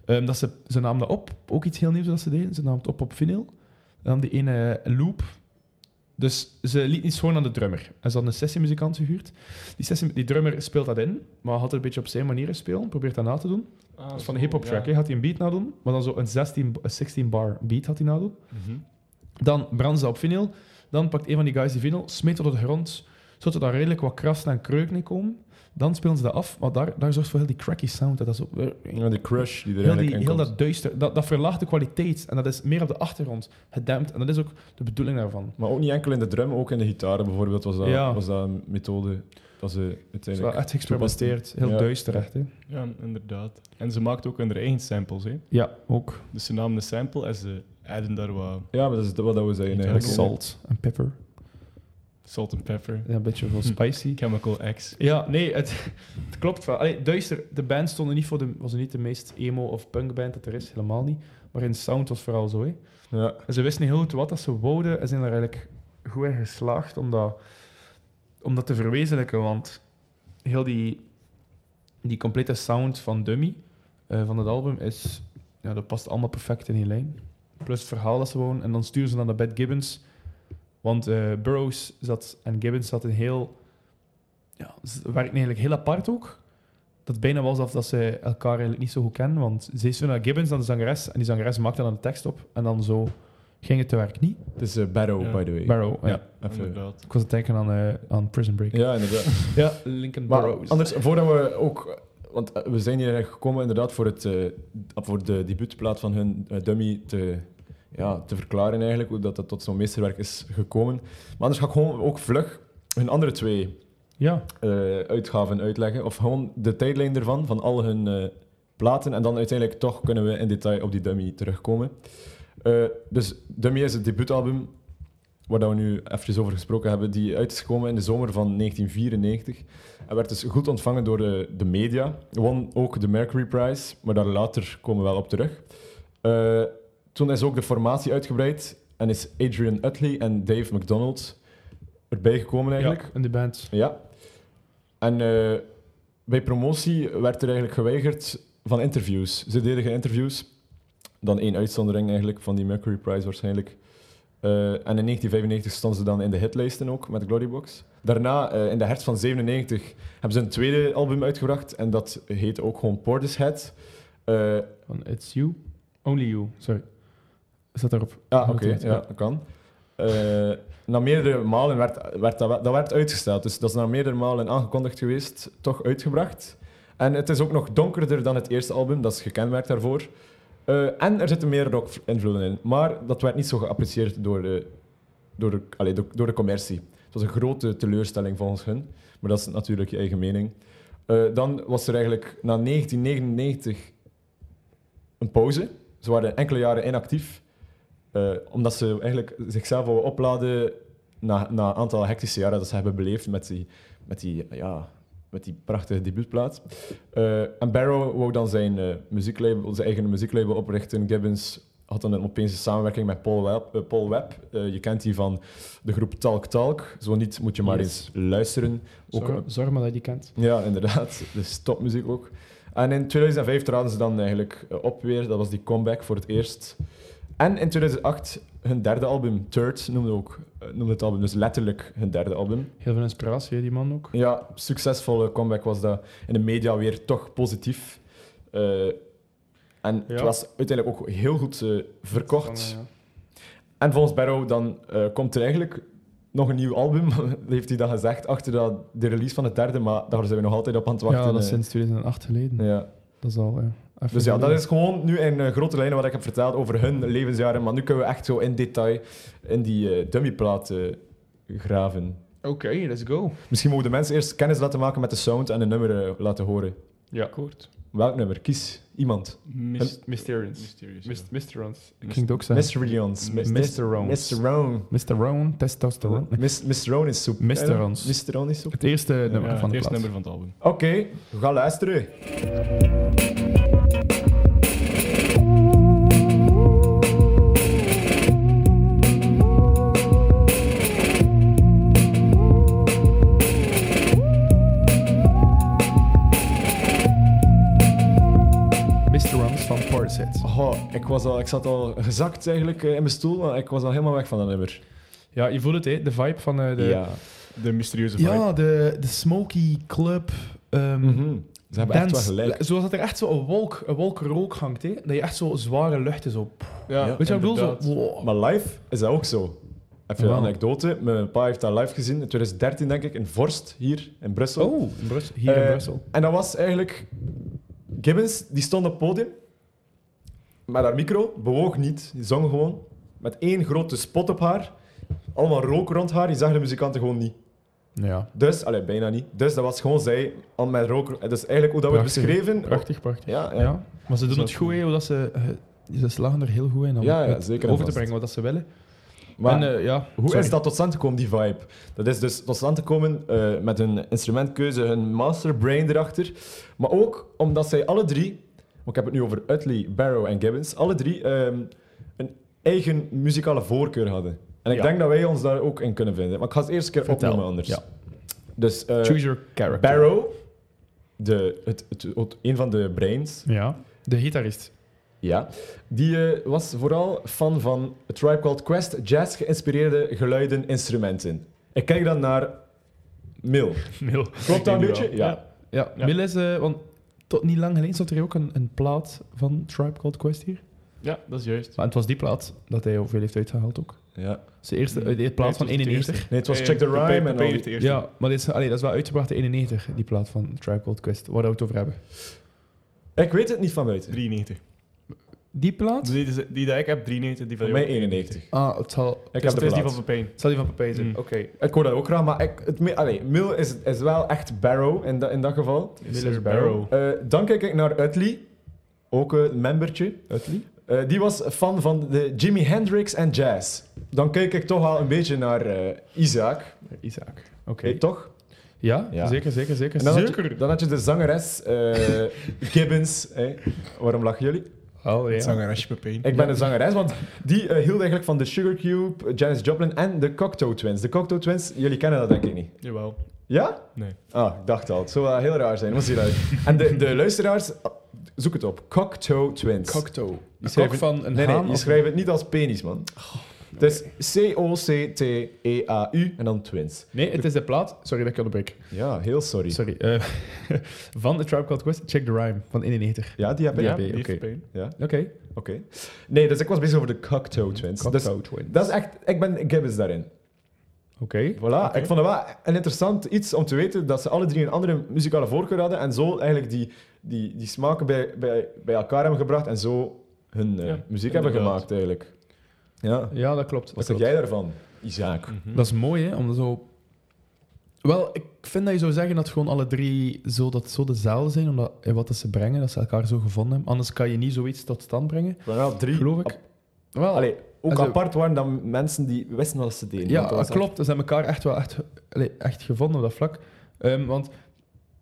Speaker 3: ehm, dat ze... Ze namen dat op. Ook iets heel nieuws dat ze deden. Ze namen het op op vinyl. Dan die ene loop. Dus ze liet niet gewoon aan de drummer. En ze hadden een sessiemuzikant gehuurd. Die, sessie, die drummer speelt dat in, maar had het een beetje op zijn manier spelen. Probeert dat na te doen.
Speaker 2: Ah,
Speaker 3: Dat is van
Speaker 2: zo,
Speaker 3: een hip-hop
Speaker 2: ja.
Speaker 3: track. hè. Had hij een beat nadoen, maar dan zo een 16, een 16 bar beat had hij nadoen.
Speaker 2: Mhm.
Speaker 3: Dan branden ze op vinyl. Dan pakt een van die guys die vinyl, smeet het op de grond, zodat er dan redelijk wat krassen en kreuken in komen. Dan spelen ze dat af, maar daar, daar zorgt voor heel die cracky sound. Dat is ook weer-
Speaker 4: Ja, die crush die er
Speaker 3: heel,
Speaker 4: eigenlijk
Speaker 3: die,
Speaker 4: in
Speaker 3: heel
Speaker 4: komt.
Speaker 3: dat duister. Dat, dat verlaagt de kwaliteit en dat is meer op de achtergrond gedempt. En dat is ook de bedoeling daarvan.
Speaker 4: Maar ook niet enkel in de drum, ook in de gitaren bijvoorbeeld was dat,
Speaker 3: Ja.
Speaker 4: was dat een methode dat ze
Speaker 3: Het is wel
Speaker 4: uiteindelijk...
Speaker 3: echt geëxperimenteerd, heel
Speaker 4: Ja.
Speaker 3: duister echt. Hè?
Speaker 2: Ja, inderdaad. En ze maakt ook hun eigen samples. Hè.
Speaker 3: Ja, ook.
Speaker 2: Dus ze namen een sample en ze adden daar wat
Speaker 4: Ja, maar dat is wat we zeiden
Speaker 2: Ja,
Speaker 4: eigenlijk.
Speaker 3: Like
Speaker 2: ook.
Speaker 3: salt en pepper.
Speaker 2: salt and pepper,
Speaker 3: Ja, een beetje veel spicy.
Speaker 2: chemical X.
Speaker 3: Ja, nee, het, het klopt wel. Allee, duister, de band stonden niet voor de, was niet de meest emo of punkband dat er is, helemaal niet. Maar in sound was vooral zo. Hè.
Speaker 4: Ja.
Speaker 3: En ze wisten niet heel goed wat dat ze wouden en zijn er eigenlijk goed in geslaagd om dat, om dat te verwezenlijken. Want heel die, die complete sound van Dummy, eh, van het album, is, ja, dat past allemaal perfect in die lijn. Plus het verhaal dat ze wonen. En dan sturen ze dan naar Bad Gibbons. Want eh, Burroughs zat, en Gibbons zat een heel... Ja, ze werken eigenlijk heel apart ook. Dat het bijna was alsof dat ze elkaar eigenlijk niet zo goed kennen. Want ze is zo naar Gibbons, dan de zangeres. En die zangeres maakte dan de tekst op. En dan zo ging het te werk niet.
Speaker 4: Het is eh, Barrow,
Speaker 2: Ja.
Speaker 4: by the way.
Speaker 3: Barrow, ja.
Speaker 4: Ja, even-
Speaker 2: Inderdaad.
Speaker 3: Ik was het denken aan, eh, aan Prison Break.
Speaker 4: ja, inderdaad.
Speaker 3: Ja, Lincoln
Speaker 4: Maar
Speaker 3: Burroughs.
Speaker 4: anders, voordat we ook... Want eh, we zijn hier gekomen inderdaad voor, het, eh, voor de debuutplaat van hun eh, dummy te, ja, te verklaren eigenlijk, hoe dat, dat tot zo'n meesterwerk is gekomen. Maar anders ga ik gewoon ook vlug hun andere twee
Speaker 3: Ja,
Speaker 4: eh, uitgaven uitleggen. Of gewoon de tijdlijn ervan, van al hun eh, platen. En dan uiteindelijk toch kunnen we in detail op die Dummy terugkomen. Eh, dus Dummy is het debuutalbum, waar dat we nu eventjes over gesproken hebben, die uit is gekomen in de zomer van 1994. En werd dus goed ontvangen door eh, de media. Won ook de Mercury Prize, maar daar later komen we wel op terug. Eh, toen is ook de formatie uitgebreid en is Adrian Utley en Dave McDonald erbij gekomen eigenlijk.
Speaker 3: eigenlijk. in de band.
Speaker 4: Ja. En eh, bij promotie werd er eigenlijk geweigerd van interviews. Ze deden geen interviews. Dan één uitzondering eigenlijk van die Mercury Prize waarschijnlijk. Eh, en in 1995 stonden ze dan in de hitlijsten ook met Glorybox. Daarna, eh, in de herfst van 97, hebben ze een tweede album uitgebracht. En dat heet ook gewoon Portishead. Eh, Eh,
Speaker 1: Van It's You, Only You, sorry. Staat daarop.
Speaker 4: ja, Ah, oké,
Speaker 1: Altijd,
Speaker 4: ja, dat kan. Eh, na meerdere malen werd, werd dat, wel- dat werd uitgesteld, dus dat is na meerdere malen aangekondigd geweest, toch uitgebracht. En het is ook nog donkerder dan het eerste album, dat is gekenmerkt daarvoor. Eh, en er zitten meer rock-invloeden in, maar dat werd niet zo geapprecieerd door de, door, de, allee, door, door de commercie. Het was een grote teleurstelling volgens hun, maar dat is natuurlijk je eigen mening. Eh, dan was er eigenlijk na 1999 een pauze. Ze waren enkele jaren inactief, eh, omdat ze eigenlijk zichzelf wilden opladen na, na een aantal hectische jaren dat ze hebben beleefd met die, met die, ja, met die prachtige debuutplaat. Eh, en Barrow wou dan zijn, eh, muzieklabel, zijn eigen muzieklabel oprichten. Gibbons had dan een opeens een samenwerking met Paul Webb. eh, Paul Webb. Eh, je kent die van de groep Talk Talk. Zo niet, moet je maar
Speaker 1: Yes.
Speaker 4: eens luisteren. Ook eh.
Speaker 1: Zorg, zorg maar dat je kent.
Speaker 4: ja, inderdaad. Dus topmuziek ook. En in 2005 traden ze dan eigenlijk eh, op weer. Dat was die comeback voor het eerst. En in 2008 hun derde album, Third, noemde, ook, eh, noemde het album. Dus letterlijk hun derde album.
Speaker 1: Heel veel inspiratie, hè, die man ook.
Speaker 4: Ja, succesvolle comeback was dat. In de media weer toch positief. Eh, en het
Speaker 1: Ja.
Speaker 4: was uiteindelijk ook heel goed eh, verkocht.
Speaker 1: Van, eh,
Speaker 4: En volgens Barrow dan eh, komt er eigenlijk nog een nieuw album, heeft hij dan gezegd, achter dat, de release van het derde, maar daar zijn we nog altijd op aan het wachten.
Speaker 1: ja, dat is
Speaker 4: eh.
Speaker 1: sinds 2008 geleden.
Speaker 4: ja.
Speaker 1: Dat is al, ja. even
Speaker 4: Dus ja, dat
Speaker 1: geleden.
Speaker 4: is gewoon nu in eh, grote lijnen wat ik heb verteld over hun levensjaren. Maar nu kunnen we echt zo in detail in die eh dummyplaat eh, graven.
Speaker 3: Oké, let's go.
Speaker 4: Misschien mogen de mensen eerst kennis laten maken met de sound en een nummer eh, laten horen.
Speaker 3: Ja.
Speaker 1: akkoord.
Speaker 4: Welk nummer? Kies iemand.
Speaker 2: Mist-
Speaker 1: Mysterians.
Speaker 2: Mysterious. ja.
Speaker 1: Mis- Mysterons.
Speaker 3: Ik ging het ook zeggen.
Speaker 4: Mr. Rions.
Speaker 1: Mr. Rones.
Speaker 4: Mr. Roan.
Speaker 3: Mr. Rowan, testosteron.
Speaker 4: Mis- Mr. Roan is soep.
Speaker 3: Mr.
Speaker 4: Eh,
Speaker 3: Rones.
Speaker 4: Mr. Roan is soep.
Speaker 3: Het eerste nummer
Speaker 2: Ja,
Speaker 3: van
Speaker 2: het
Speaker 3: de
Speaker 2: eerste
Speaker 3: plaat.
Speaker 2: nummer van het album.
Speaker 4: Oké, we gaan luisteren.
Speaker 3: Mr. Rounds van Portishead.
Speaker 4: Oh, ik, was al, ik zat al gezakt eigenlijk eh, in mijn stoel, maar ik was al helemaal weg van dat nummer.
Speaker 3: Ja, je voelt het, hè? de vibe van eh, de...
Speaker 4: Ja.
Speaker 2: De mysterieuze vibe.
Speaker 3: Ja, de, de smoky club. ehm
Speaker 4: Mhm. Ze hebben echt wel
Speaker 3: dance.
Speaker 4: gelijk.
Speaker 3: Zoals dat er echt zo een wolk, een wolk rook hangt, hè? dat je echt zo zware luchten zo...
Speaker 2: Ja,
Speaker 4: Ja.
Speaker 3: Weet je wat ik bedoel?
Speaker 2: inderdaad.
Speaker 3: Zo, wow.
Speaker 4: Maar live is dat ook zo. Even
Speaker 3: Wow.
Speaker 4: een anekdote. Mijn pa heeft dat live gezien in 2013, denk ik, in Vorst, hier in Brussel.
Speaker 3: Oh, in Brussel. hier in
Speaker 4: Eh,
Speaker 3: Brussel.
Speaker 4: En dat was eigenlijk... Gibbons, die stond op het podium met haar micro, bewoog niet, die zong gewoon. Met één grote spot op haar, allemaal rook rond haar, die zag de muzikanten gewoon niet.
Speaker 3: Ja.
Speaker 4: Dus, allee, bijna niet. Dus dat was gewoon zij, al met rook. Dat is eigenlijk hoe dat we het
Speaker 3: Prachtig.
Speaker 4: beschreven.
Speaker 1: Prachtig, prachtig.
Speaker 4: Ja, ja.
Speaker 3: ja. Maar ze doen het goed, hè, omdat ze... eh, ze slagen er heel goed in om
Speaker 4: Ja, ja,
Speaker 3: het
Speaker 4: zeker en
Speaker 3: over te
Speaker 4: vast.
Speaker 3: brengen wat dat ze willen.
Speaker 4: Maar-
Speaker 3: en, eh, ja,
Speaker 4: Hoe
Speaker 3: sorry.
Speaker 4: is dat tot stand gekomen, die vibe? Dat is dus tot stand gekomen eh, met hun instrumentkeuze, hun masterbrain erachter. Maar ook omdat zij alle drie, want ik heb het nu over Utley, Barrow en Gibbons, alle drie ehm, een eigen muzikale voorkeur hadden. En ik
Speaker 3: Ja.
Speaker 4: denk dat wij ons daar ook in kunnen vinden. Maar ik ga het eerst een keer
Speaker 3: Vertel.
Speaker 4: opnoemen anders.
Speaker 3: Ja.
Speaker 4: Dus eh,
Speaker 3: Choose your character.
Speaker 4: Barrow, de, het, het, het- een van de brains,
Speaker 3: Ja, de gitarist.
Speaker 4: ja, die eh, was vooral fan van A Tribe Called Quest, jazz geïnspireerde geluiden, instrumenten. Ik kijk dan naar Mil.
Speaker 3: Mil.
Speaker 4: Klopt dat een beetje? Ja.
Speaker 3: Ja,
Speaker 2: Ja.
Speaker 3: Mil is... eh, want tot niet lang geleden stond er ook een, een plaat van Tribe Called Quest hier.
Speaker 2: Ja, dat is juist.
Speaker 3: Maar het was die plaat dat hij hoeveel heeft uitgehaald ook.
Speaker 4: ja.
Speaker 3: Zijn eerste eh, die plaat van
Speaker 2: Hmm. Nee, het was het
Speaker 3: 91.
Speaker 4: Nee, het was
Speaker 2: Eh,
Speaker 4: Check the
Speaker 2: Pepe-
Speaker 4: Rhyme en
Speaker 2: Pepe
Speaker 4: al
Speaker 2: heeft
Speaker 4: die-
Speaker 2: de eerste.
Speaker 3: Ja, maar dit is, allee, dat is wel uitgebracht in 91, die plaat van Tribe Called Quest, waar we het over hebben.
Speaker 4: Ik weet het niet van buiten.
Speaker 2: 93.
Speaker 3: Die plaat?
Speaker 2: Dus Die, die, die dat ik heb, 93. Die van
Speaker 4: Voor
Speaker 2: jou
Speaker 4: mij
Speaker 2: ook
Speaker 4: 91.
Speaker 3: Ah, het zal,
Speaker 4: Ik heb
Speaker 2: Het
Speaker 4: de
Speaker 2: is die van
Speaker 4: plaat.
Speaker 2: Verpijn.
Speaker 3: het zal die van Papijn zijn.
Speaker 2: Mm.
Speaker 3: Oké.
Speaker 4: Ik hoor dat ook graag, maar ik, het, me- allee, Mil is, is wel echt Barrow in, dat in dat geval.
Speaker 2: Miller Barrow.
Speaker 4: Eh, dan kijk ik naar Utley, ook een membertje.
Speaker 3: Utley?
Speaker 4: Eh, die was fan van de Jimi Hendrix en jazz. Dan kijk ik toch al een beetje naar eh, Isaac.
Speaker 3: Isaac. Oké.
Speaker 4: Weet toch?
Speaker 3: Ja,
Speaker 4: Ja.
Speaker 3: zeker, zeker, zeker.
Speaker 4: En dan, had
Speaker 3: zeker.
Speaker 4: je, dan had je de zangeres eh, Gibbons. hè. Waarom lachen jullie?
Speaker 3: Oh, ja.
Speaker 2: Zangeresje Pepijn.
Speaker 4: Ik ben een zangeres, want die eh, hield eigenlijk van de Sugar Cube, eh, Janis Joplin en de Cocteau Twins. De Cocteau Twins, jullie kennen dat denk ik niet.
Speaker 2: Jawel.
Speaker 4: Ja?
Speaker 2: Nee.
Speaker 4: Ah, ik dacht al. Het zou wel heel raar zijn. Wat zie je daar? En de, de luisteraars, ah, zoek het op. Cocteau Twins.
Speaker 3: Cocteau. Een
Speaker 4: schrijven-
Speaker 3: kok van een
Speaker 4: nee, nee,
Speaker 3: haan
Speaker 4: je
Speaker 3: of- Oh,
Speaker 4: schrijft het niet als penis, man. Het is C-O-C-T-E-A-U E en dan Twins.
Speaker 3: Nee, het is de plaat. Sorry dat ik onderbreek.
Speaker 4: Ja, heel sorry.
Speaker 3: Sorry. eh, van The Tribe Called Quest, Check the Rhyme van 91.
Speaker 4: Ja, die heb ik.
Speaker 3: Ja,
Speaker 4: Ja,
Speaker 3: die
Speaker 4: oké.
Speaker 3: heb
Speaker 2: Lief, pijn.
Speaker 4: Ja,
Speaker 3: Oké.
Speaker 4: oké. Nee, dus ik was bezig over de Cocteau Twins. Dus
Speaker 3: Cocteau Twins.
Speaker 4: dat is echt... Ik ben gibbous daarin.
Speaker 3: Oké.
Speaker 4: Voilà, ik vond het wel een interessant iets om te weten dat ze alle drie een andere muzikale voorkeur hadden en zo eigenlijk die, die, die smaken bij, bij, bij elkaar hebben gebracht en zo hun eh,
Speaker 2: Ja,
Speaker 4: muziek
Speaker 2: inderdaad.
Speaker 4: hebben gemaakt eigenlijk. Ja, wat
Speaker 3: Ja, dat klopt. Dat,
Speaker 4: zeg
Speaker 3: klopt.
Speaker 4: jij daarvan, Isaac?
Speaker 2: Hm.
Speaker 3: dat is mooi, hè? Om zo... Wel, ik vind dat je zou zeggen dat gewoon alle drie zo, dat zo dezelfde zijn, omdat eh, wat dat ze brengen, dat ze elkaar zo gevonden hebben. Anders kan je niet zoiets tot stand brengen,
Speaker 4: We waren al drie.
Speaker 3: geloof ik. Wel,
Speaker 4: Allee, ook
Speaker 3: Also-
Speaker 4: apart waren dan mensen die wisten wat ze deden.
Speaker 3: Ja,
Speaker 4: Want dat was
Speaker 3: dat klopt. Ze hebben elkaar echt wel echt, allee, echt gevonden op dat vlak. Ehm, want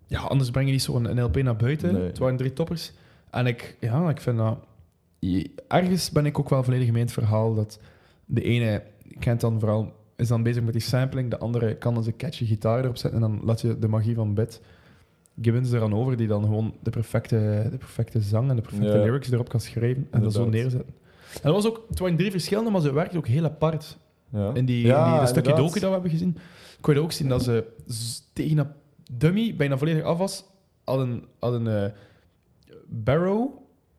Speaker 3: ja, anders breng je niet zo'n een LP naar buiten.
Speaker 4: Nee.
Speaker 3: Het waren drie toppers. En ik, ja, ik vind dat... je- Ergens ben ik ook wel volledig mee in het verhaal dat de ene kent dan vooral, is dan bezig met die sampling, de andere kan dan zijn catchy gitaar erop zetten en dan laat je de magie van Bed Gibbons er aan over, die dan gewoon de perfecte, de perfecte zang en de perfecte
Speaker 4: Ja.
Speaker 3: lyrics erop kan schrijven en dat zo
Speaker 4: Inderdaad.
Speaker 3: neerzetten. En dat was ook, het waren drie verschillende, maar ze werkten ook heel apart.
Speaker 4: Ja.
Speaker 3: In die,
Speaker 4: Ja,
Speaker 3: in die dat stukje
Speaker 4: inderdaad.
Speaker 3: docu dat we hebben gezien, kon je ook zien dat ze z- tegen een dummy bijna volledig af was, hadden, hadden eh, Barrow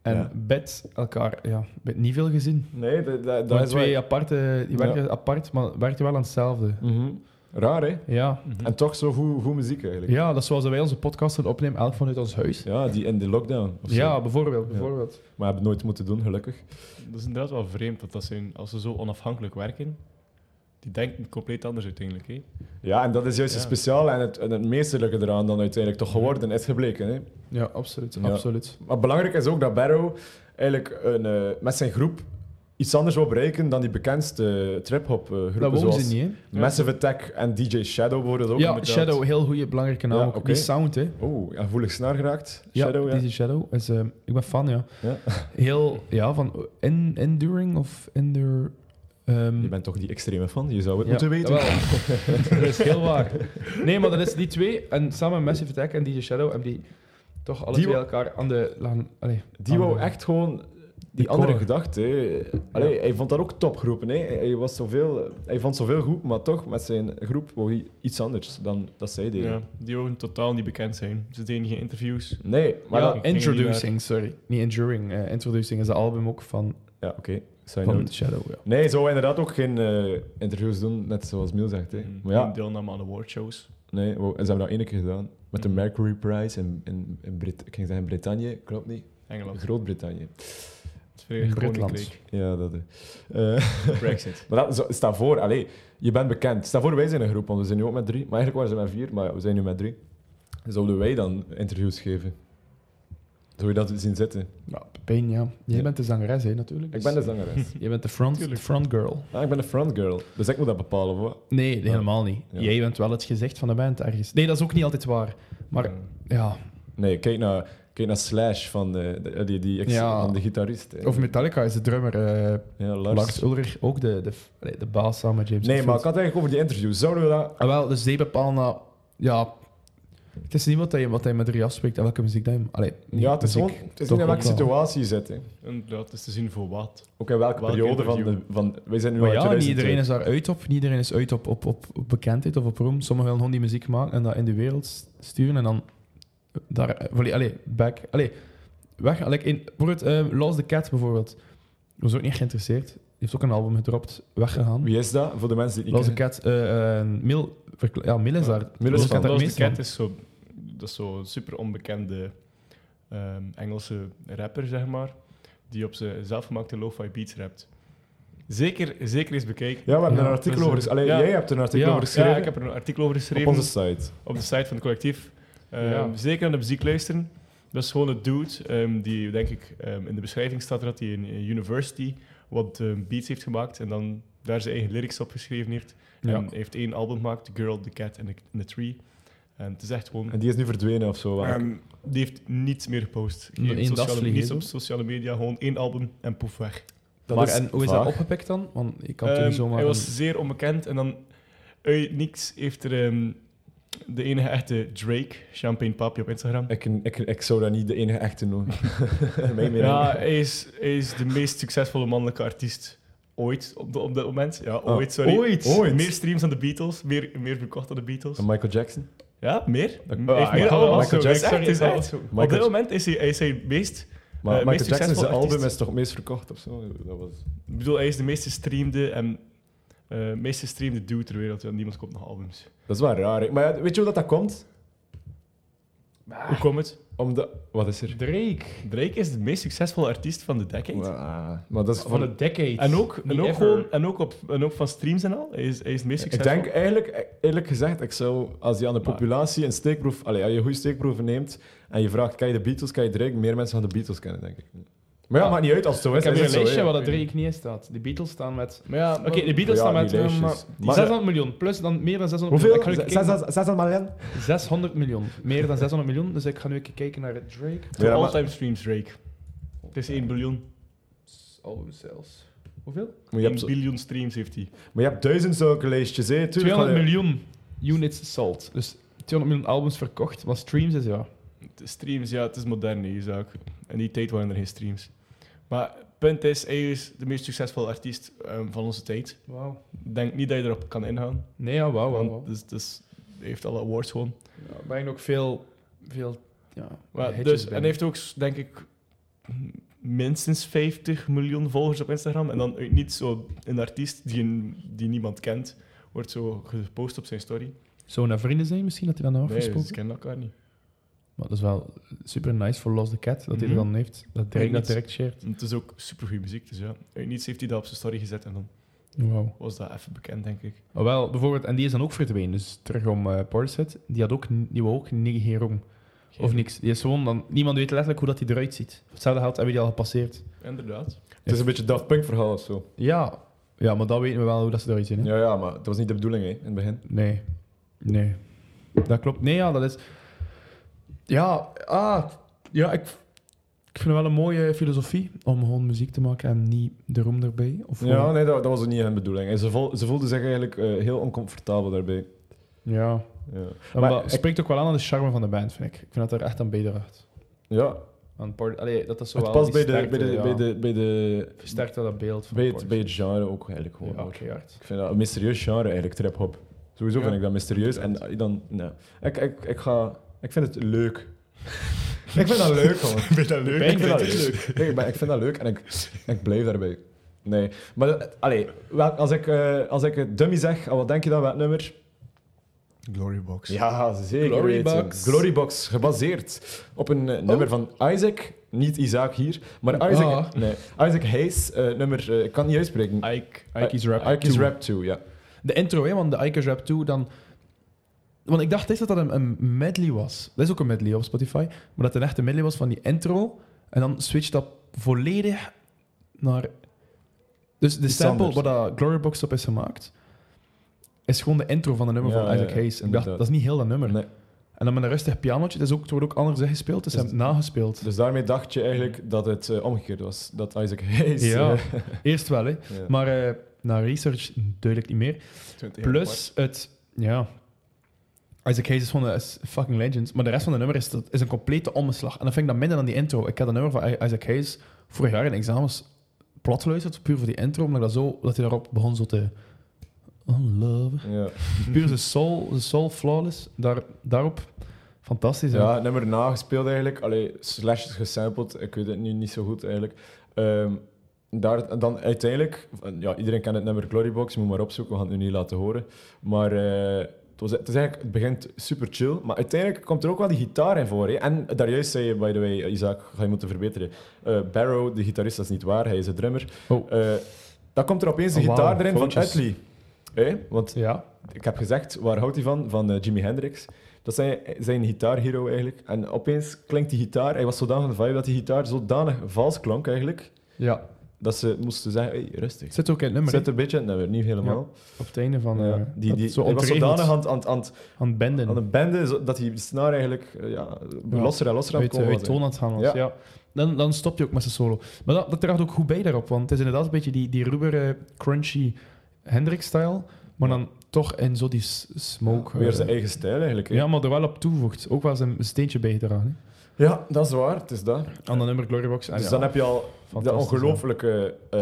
Speaker 3: en
Speaker 4: Ja.
Speaker 3: Bed elkaar ja, Bed niet veel gezien.
Speaker 4: Nee, dat, dat, dat
Speaker 3: Dat
Speaker 4: is
Speaker 3: twee
Speaker 4: wel...
Speaker 3: aparte, die
Speaker 4: Ja.
Speaker 3: werken apart, maar werkten wel aan hetzelfde.
Speaker 4: Mhm. Raar, hè?
Speaker 3: Ja.
Speaker 4: En toch zo goed, goed muziek eigenlijk.
Speaker 3: ja, dat is zoals wij onze podcast gaan opnemen, elk vanuit ons huis.
Speaker 4: Ja, die in de lockdown. of zo.
Speaker 3: Ja, bijvoorbeeld. bijvoorbeeld.
Speaker 4: Maar hebben het nooit moeten doen, gelukkig.
Speaker 2: Dat is inderdaad wel vreemd, dat dat zijn, als ze zo onafhankelijk werken, die denken compleet anders uiteindelijk. Hè?
Speaker 4: Ja, en dat is juist
Speaker 2: Ja.
Speaker 4: het speciaal en het, en het meesterlijke eraan dan uiteindelijk toch geworden is gebleken. Hè?
Speaker 3: Ja, absoluut.
Speaker 4: Ja.
Speaker 3: absoluut.
Speaker 4: Maar belangrijk is ook dat Barrow eigenlijk een, eh, met zijn groep iets anders wil bereiken dan die bekendste trip-hop eh,
Speaker 3: Dat
Speaker 4: groepen
Speaker 3: wonen
Speaker 4: zoals
Speaker 3: ze niet, hè?
Speaker 4: Massive Attack en DJ Shadow bijvoorbeeld ook.
Speaker 3: Ja,
Speaker 4: inderdaad.
Speaker 3: Shadow, heel goede belangrijke naam.
Speaker 4: Ja,
Speaker 3: ook.
Speaker 4: oké.
Speaker 3: Die sound, hè?
Speaker 4: Oeh, aanvoelig Oh, snaar geraakt.
Speaker 3: Ja,
Speaker 4: Shadow, ja.
Speaker 3: Dizzy Shadow. Is, ehm, ik ben fan, ja.
Speaker 4: Ja.
Speaker 3: Heel, ja, van en- enduring of ender... ehm,
Speaker 4: Je bent toch die extreme fan, je zou het
Speaker 3: ja,
Speaker 4: moeten weten.
Speaker 3: jawel. dat is heel waar. Nee, maar dat is die twee, en samen met Massive Attack en DJ Shadow, hebben die toch alle
Speaker 4: Die
Speaker 3: twee
Speaker 4: wou-
Speaker 3: elkaar aan de... Aan, allee,
Speaker 4: Die
Speaker 3: aan
Speaker 4: wou
Speaker 3: de-
Speaker 4: echt gewoon die
Speaker 3: De
Speaker 4: andere
Speaker 3: core.
Speaker 4: gedachte. hè. Allee, Hij vond dat ook topgroepen. Hè. Hij, was zoveel, hij vond zoveel goed, maar toch met zijn groep wou hij iets anders dan dat zij deden.
Speaker 2: Ja, die ook totaal niet bekend zijn. Ze deden geen interviews.
Speaker 4: Nee, maar
Speaker 3: ja,
Speaker 4: dat-
Speaker 2: ging niet
Speaker 3: Introducing, sorry. Niet Enduring. eh, introducing is het album ook van,
Speaker 4: ja oké. Side
Speaker 3: van
Speaker 4: note.
Speaker 3: Shadow, ja.
Speaker 4: Nee, zo inderdaad ook geen eh, interviews doen, net zoals Miel zegt. Hè. Maar ja,
Speaker 2: Mm, Geen deelname aan awardshows.
Speaker 4: nee, wow, en ze hebben dat één keer gedaan. Met de Mercury Prize in, in, in Brit ik ging zeggen Brittannië, klopt niet.
Speaker 2: Engeland.
Speaker 4: Groot-Brittannië.
Speaker 2: Het Verenigd
Speaker 3: Britland.
Speaker 2: Koninkrijk.
Speaker 4: Ja, dat. eh. Eh,
Speaker 2: Brexit.
Speaker 4: Maar dat, zo- sta voor, allee, je bent bekend. Sta voor, wij zijn een groep, want we zijn nu ook met drie. Maar eigenlijk waren ze met vier, maar ja, we zijn nu met drie. Zouden wij dan interviews geven? Zou je dat zien zitten?
Speaker 3: Ja, Pepijn, ja. Jij
Speaker 4: Ja.
Speaker 3: bent de zangeres, hè, natuurlijk. dus-
Speaker 4: Ik ben de zangeres.
Speaker 3: Jij bent de front,
Speaker 2: Tuurlijk.
Speaker 3: front girl.
Speaker 4: ah, ik ben de frontgirl, dus ik moet dat bepalen. of wat?
Speaker 3: Nee, nee, helemaal niet.
Speaker 4: Ja.
Speaker 3: Jij bent wel het gezicht van de band ergens. Nee, dat is ook niet altijd waar. Maar ja,
Speaker 4: Nee, kijk naar, kijk naar Slash van de, de- die, die ex-
Speaker 3: Ja.
Speaker 4: van de gitarist. hè.
Speaker 3: of Metallica is de drummer eh,
Speaker 4: ja, Lars.
Speaker 3: Lars. Ulrich ook de, de, allee, de baas samen met James.
Speaker 4: Nee, maar ik
Speaker 3: Hetfield.
Speaker 4: had het eigenlijk over die interviews. Zouden we dat...
Speaker 3: Ah, wel, dus zij bepalen dat, ja, het is niet wat hij, wat hij met Rias spreekt en welke muziek dat hij. Allee, niet
Speaker 4: Ja, het is,
Speaker 3: muziek,
Speaker 4: gewoon, het is
Speaker 3: toch
Speaker 4: niet in welke
Speaker 3: ook wel.
Speaker 4: situatie je zit. hè.
Speaker 2: Inderdaad, het is te zien voor wat.
Speaker 4: Ook in welke
Speaker 2: Welk
Speaker 4: periode van, de,
Speaker 2: interview?
Speaker 4: van... Wij zijn nu
Speaker 3: Maar
Speaker 4: al in
Speaker 3: ja, niet
Speaker 4: 2002.
Speaker 3: iedereen is daar uit op. Niet iedereen is uit op, op, op, op bekendheid of op roem. Sommigen willen gewoon die muziek maken en dat in de wereld sturen en dan daar... eh, volledig- Allee, back. Allee, weg. Allee, in, bijvoorbeeld, eh, Lost the Cat bijvoorbeeld. Was ook niet geïnteresseerd. Die heeft ook een album gedropt. Weggegaan.
Speaker 4: Wie is dat? Voor de mensen die het
Speaker 3: Lost the
Speaker 4: niet
Speaker 3: Cat... eh, eh, Mil... verkla- Ja, Mil is daar.
Speaker 4: Mil
Speaker 3: Lost
Speaker 4: is
Speaker 3: the Cat daar
Speaker 4: van-
Speaker 2: Dat
Speaker 3: het meest van.
Speaker 2: is zo, dat is zo'n super onbekende ehm, Engelse rapper, zeg maar, die op zijn zelfgemaakte lo-fi beats rapt. Zeker, zeker eens bekijken.
Speaker 4: Ja, we hebben
Speaker 3: Ja,
Speaker 4: er een artikel
Speaker 2: dus,
Speaker 4: over geschreven.
Speaker 2: ja.
Speaker 4: Jij hebt er een artikel
Speaker 3: Ja,
Speaker 4: over
Speaker 2: Ja,
Speaker 4: geschreven
Speaker 2: ik heb er een artikel over geschreven
Speaker 4: op onze site.
Speaker 2: op de site van het collectief. Ehm,
Speaker 3: Ja.
Speaker 2: Zeker aan de muziek luisteren. Dat is gewoon een dude ehm, die, denk ik, ehm, in de beschrijving staat er dat hij in in university wat ehm, beats heeft gemaakt en dan daar zijn eigen lyrics op geschreven heeft.
Speaker 3: Ja.
Speaker 2: En hij heeft één album gemaakt, The Girl, The Cat and The, and the Tree. En het is echt gewoon...
Speaker 4: En die is nu verdwenen of zo. waar ik-
Speaker 2: Ehm, die heeft niets meer gepost.
Speaker 3: Eén
Speaker 2: Geen sociale,
Speaker 3: dagsvlieg,
Speaker 2: niets
Speaker 3: hè,
Speaker 2: op
Speaker 3: zo?
Speaker 2: sociale media, gewoon één album en poef weg.
Speaker 4: Dat
Speaker 3: maar
Speaker 4: is
Speaker 3: en hoe is dat
Speaker 4: vaag.
Speaker 3: opgepikt dan? Want ik kan
Speaker 2: Ehm,
Speaker 3: toch niet zomaar...
Speaker 2: hij was
Speaker 3: een-
Speaker 2: zeer onbekend en dan uit niks heeft er ehm, de enige echte Drake, Champagne Papi op Instagram.
Speaker 4: Ik, ik, ik zou dat niet de enige echte noemen. Mijn mening.
Speaker 2: Ja, hij is, hij is de meest succesvolle mannelijke artiest Ooit, op, de, op dat moment. Ja,
Speaker 4: Ah,
Speaker 2: ooit, sorry.
Speaker 4: ooit. Ooit.
Speaker 2: Meer streams dan de Beatles. Meer, meer verkocht dan de Beatles.
Speaker 4: En Michael Jackson.
Speaker 2: Ja, meer.
Speaker 4: Ah,
Speaker 2: Heeft meer
Speaker 4: Michael-
Speaker 2: allemaal
Speaker 4: Michael
Speaker 2: zo.
Speaker 4: Jackson.
Speaker 2: Exact,
Speaker 4: Is echt.
Speaker 2: exact. Zo.
Speaker 4: Michael
Speaker 2: Op dit
Speaker 4: Jack-
Speaker 2: moment is hij, hij is hij meest...
Speaker 4: Maar
Speaker 2: Eh, meest
Speaker 4: Michael Jackson zijn
Speaker 2: succesvol
Speaker 4: album
Speaker 2: artiest.
Speaker 4: is toch het meest verkocht of zo? Dat was...
Speaker 2: Ik bedoel, hij is de meest gestreamde en eh meest gestreamde dude ter wereld. Ja, niemand koopt nog albums.
Speaker 4: Dat is wel raar. hè. Maar ja, weet je hoe dat, dat komt?
Speaker 3: Ah.
Speaker 2: Hoe komt het?
Speaker 4: Om de... Wat is er?
Speaker 3: Drake.
Speaker 2: Drake is de meest succesvolle artiest van de decade.
Speaker 4: Ah, maar dat is
Speaker 3: Van
Speaker 4: voor...
Speaker 3: een decade.
Speaker 2: En ook,
Speaker 3: Niet
Speaker 2: en, ook
Speaker 3: ever.
Speaker 2: gewoon, en, ook op, en ook van streams en al. Hij is, hij is de meest
Speaker 4: Ik
Speaker 2: succesvolle.
Speaker 4: denk eigenlijk, eerlijk gezegd, ik zou, als je aan de populatie een steekproef, allee, als je goede steekproeven neemt en je vraagt, kan je de Beatles, kan je Drake, meer mensen van de Beatles kennen, denk ik. Maar ja,
Speaker 3: Ah.
Speaker 4: maakt niet uit als het zo is.
Speaker 3: Ik heb
Speaker 4: is
Speaker 3: hier een
Speaker 4: het zo,
Speaker 3: lijstje
Speaker 4: hè.
Speaker 3: waar dat Drake niet in staat. De Beatles staan met... Maar ja, oké, de Beatles
Speaker 4: Ja,
Speaker 3: staan
Speaker 4: die
Speaker 3: met... eh,
Speaker 4: lijstjes.
Speaker 3: maar-
Speaker 4: Die-
Speaker 3: 600 miljoen, plus dan meer dan 600
Speaker 4: Hoeveel?
Speaker 3: miljoen. Ik ga nu
Speaker 4: Zes-
Speaker 3: kijken-
Speaker 4: zes- 600 miljoen?
Speaker 3: 600 miljoen. Meer dan 600 miljoen, dus ik ga nu even kijken naar Drake.
Speaker 2: Voor
Speaker 4: Ja, maar-
Speaker 2: all-time streams, Drake. Het is 1 biljoen.
Speaker 3: Album sales. Oh, Hoeveel?
Speaker 4: Maar je
Speaker 2: 1
Speaker 4: hebt, zo-
Speaker 2: biljoen streams heeft hij.
Speaker 4: maar je hebt duizend zulke lijstjes, hè? Tuurlijk,
Speaker 3: 200
Speaker 4: allee.
Speaker 3: miljoen units sold. Dus 200 miljoen albums verkocht, maar streams is ja.
Speaker 2: De Streams, ja, het is modern, die zaak. In die tijd waren er geen streams. Maar het punt is, hij is de meest succesvolle artiest ehm, van onze tijd.
Speaker 3: Wauw.
Speaker 2: Ik denk niet dat je erop kan ingaan.
Speaker 3: Nee, ja, wauw, wauw,
Speaker 2: want
Speaker 3: wauw.
Speaker 2: dus, dus, hij heeft alle awards gewoon.
Speaker 3: Ja, brengt ook veel, veel ja,
Speaker 2: Maar
Speaker 3: hitjes
Speaker 2: dus, en
Speaker 3: binnen.
Speaker 2: hij heeft ook, denk ik, minstens 50 miljoen volgers op Instagram. En dan uit niet zo een artiest die, een- die niemand kent, wordt zo gepost op zijn story.
Speaker 3: Zou naar vrienden zijn misschien, dat hij dan nog
Speaker 2: Nee,
Speaker 3: afgesproken?
Speaker 2: ze kennen elkaar niet.
Speaker 3: Maar dat is wel super nice voor Los the Cat, dat hij
Speaker 2: Mhm.
Speaker 3: dat dan heeft. Dat Drake
Speaker 2: Weet
Speaker 3: dat
Speaker 2: niet.
Speaker 3: direct shared.
Speaker 2: En het is ook supergoeie muziek, dus ja. Uit niets heeft hij dat op zijn story gezet en dan
Speaker 3: Wauw.
Speaker 2: was dat even bekend, denk ik.
Speaker 3: Maar Ah, wel, bijvoorbeeld, en die is dan ook verdwenen. Dus terug om eh Portishead, die had ook, n- die wou ook ni- geen roem. Of niks. Die is gewoon dan, niemand weet letterlijk hoe dat hij eruit ziet. Op Hetzelfde geld hebben we die al gepasseerd.
Speaker 2: Inderdaad.
Speaker 4: Het is een beetje Daft Punk verhaal of zo.
Speaker 3: Ja. ja, maar dat weten we wel hoe dat ze eruit zien. Hè?
Speaker 4: Ja, ja, maar dat was niet de bedoeling, hè, in het begin.
Speaker 3: Nee. Nee. Dat klopt. Nee, ja, dat is... Ja, ah, ja ik, ik vind het wel een mooie filosofie om gewoon muziek te maken en niet de roem erbij. Of
Speaker 4: Ja,
Speaker 3: gewoon-
Speaker 4: nee, dat, dat was ook niet hun bedoeling. En ze, voel- ze voelden zich eigenlijk eh, heel oncomfortabel daarbij.
Speaker 3: ja.
Speaker 4: Ja,
Speaker 3: Maar,
Speaker 4: Maar
Speaker 3: dat
Speaker 4: ik-
Speaker 3: spreekt ook wel aan aan de charme van de band, vind ik. Ik vind dat er echt aan bijdraagt.
Speaker 4: ja
Speaker 3: Aan Port- Allee, dat is zo
Speaker 4: het
Speaker 3: wel
Speaker 4: past
Speaker 3: die
Speaker 4: bij de,
Speaker 3: sterkte,
Speaker 4: bij, de,
Speaker 3: ja.
Speaker 4: bij, de, bij, de,
Speaker 3: Versterkt wel dat beeld van
Speaker 4: bij, het,
Speaker 3: Portishead.
Speaker 4: bij het genre ook eigenlijk gewoon.
Speaker 3: Ja,
Speaker 4: hoor.
Speaker 3: oké, hard.
Speaker 4: Ik vind dat een mysterieus genre eigenlijk, trap-hop. Sowieso
Speaker 2: Ja.
Speaker 4: vind ik dat mysterieus. En eh, dan, nou, ik, ik, ik, ga, ik vind het leuk. ik vind dat leuk, gewoon.
Speaker 2: Vind je dat leuk?
Speaker 4: ik vind dat leuk. Nee, maar ik vind dat leuk en ik, ik blijf daarbij. Nee, maar dat- allee, wel, als, ik, eh, als ik het dummy zeg, ah, wat denk je dan, welk nummer?
Speaker 2: Glorybox.
Speaker 4: Ja, zeker
Speaker 3: Glorybox.
Speaker 4: weten. Glorybox, gebaseerd op een eh, nummer van Isaac. Niet Isaac hier, maar Isaac,
Speaker 3: Ah.
Speaker 4: nee, Isaac Hayes, eh, nummer, eh, ik kan het niet uitspreken.
Speaker 2: Ike.
Speaker 3: Ike's Rap
Speaker 4: Ike's
Speaker 3: 2.
Speaker 4: Rap 2, ja.
Speaker 3: De intro, hè, want de Ike's Rap 2, dan... Want ik dacht eerst dat dat een, een medley was. Dat is ook een medley op Spotify. Maar dat het een echte medley was van die intro. En dan switcht dat volledig naar... Dus de
Speaker 4: Iets
Speaker 3: sample
Speaker 4: anders.
Speaker 3: waar dat Glorybox op is gemaakt, is gewoon de intro van de nummer
Speaker 4: Ja,
Speaker 3: van
Speaker 4: ja,
Speaker 3: Isaac
Speaker 4: ja,
Speaker 3: Hayes. En ik dacht,
Speaker 4: inderdaad.
Speaker 3: dat is niet heel dat nummer.
Speaker 4: Nee.
Speaker 3: En dan met een rustig pianotje, dat is ook, het wordt ook anders gespeeld. Dus ze
Speaker 4: Dus-
Speaker 3: hebben het nagespeeld.
Speaker 4: Dus daarmee dacht je eigenlijk dat het eh, omgekeerd was. Dat Isaac Hayes...
Speaker 3: Ja.
Speaker 4: eh,
Speaker 3: Eerst wel, hè.
Speaker 4: ja.
Speaker 3: Maar eh, na research duidelijk niet meer. Plus het, ja. Isaac Hayes is gewoon een is fucking legend. Maar de rest van de nummer is, dat is een complete omslag. En dan vind ik dat minder dan die intro. Ik had een nummer van I- Isaac Hayes vorig jaar in examens plat geluisterd, puur voor die intro. Omdat ik dat, zo, dat hij daarop begon zo te... Oh, love.
Speaker 4: Ja.
Speaker 3: Puur zijn soul, zijn soul flawless. Daar, daarop, fantastisch. hè.
Speaker 4: Ja, het nummer nagespeeld eigenlijk. Allee, slash gesampled. Ik weet het nu niet zo goed eigenlijk. Ehm, daar, dan uiteindelijk... Ja, iedereen kent het nummer Glorybox. Je moet maar opzoeken. We gaan het nu niet laten horen. Maar eh, het, was, het, is eigenlijk, het begint super chill. Maar uiteindelijk komt er ook wel die gitaar in voor. Hè. En daarjuist zei je, by the way, Isaac, ga je moeten verbeteren. Eh, Barrow, de gitarist, dat is niet waar. Hij is een drummer.
Speaker 3: Oh.
Speaker 4: Eh, dan komt er opeens de
Speaker 3: Oh, wauw,
Speaker 4: gitaar erin van
Speaker 3: foutjes.
Speaker 4: Utley. Hè? Want
Speaker 3: Ja.
Speaker 4: ik heb gezegd, waar houdt hij van? Van eh, Jimi Hendrix. Dat zijn zijn gitaarhero eigenlijk. En opeens klinkt die gitaar, hij was zodanig een vibe dat die gitaar zodanig vals klonk eigenlijk,
Speaker 3: ja.
Speaker 4: dat ze moesten zeggen, hey, rustig.
Speaker 3: Zit ook in het nummer.
Speaker 4: Zet een beetje in het nummer, niet helemaal.
Speaker 3: hè. Op het einde van...
Speaker 4: Maar ja,
Speaker 3: eh,
Speaker 4: die,
Speaker 3: dat
Speaker 4: die,
Speaker 3: het zo
Speaker 4: hij was
Speaker 3: ontregeld
Speaker 4: zodanig aan, het- aan, het- aan, het-
Speaker 3: aan het benden.
Speaker 4: aan een bende zo- dat die snaar eigenlijk eh, ja, losser en losser aan het
Speaker 3: uit,
Speaker 4: komen
Speaker 3: uit
Speaker 4: was,
Speaker 3: toon aan het gaan was, Ja.
Speaker 4: Ja.
Speaker 3: Dan, dan stop je ook met zijn solo. Maar dat, dat draagt ook goed bij daarop, want het is inderdaad een beetje die, die rubberen, crunchy Hendrix-stijl, maar dan toch in zo die s- smoke.
Speaker 4: eigenlijk. Weer
Speaker 3: eh,
Speaker 4: zijn eigen stijl eigenlijk. hè.
Speaker 3: ja, maar er wel op toevoegt. Ook wel zijn steentje bij gedaan.
Speaker 4: ja, dat is waar, het is dat.
Speaker 3: Aan de nummer Glorybox. En
Speaker 4: Dus
Speaker 3: Ah, ja,
Speaker 4: dan heb je al de
Speaker 3: fantastisch,
Speaker 4: ongelooflijke eh,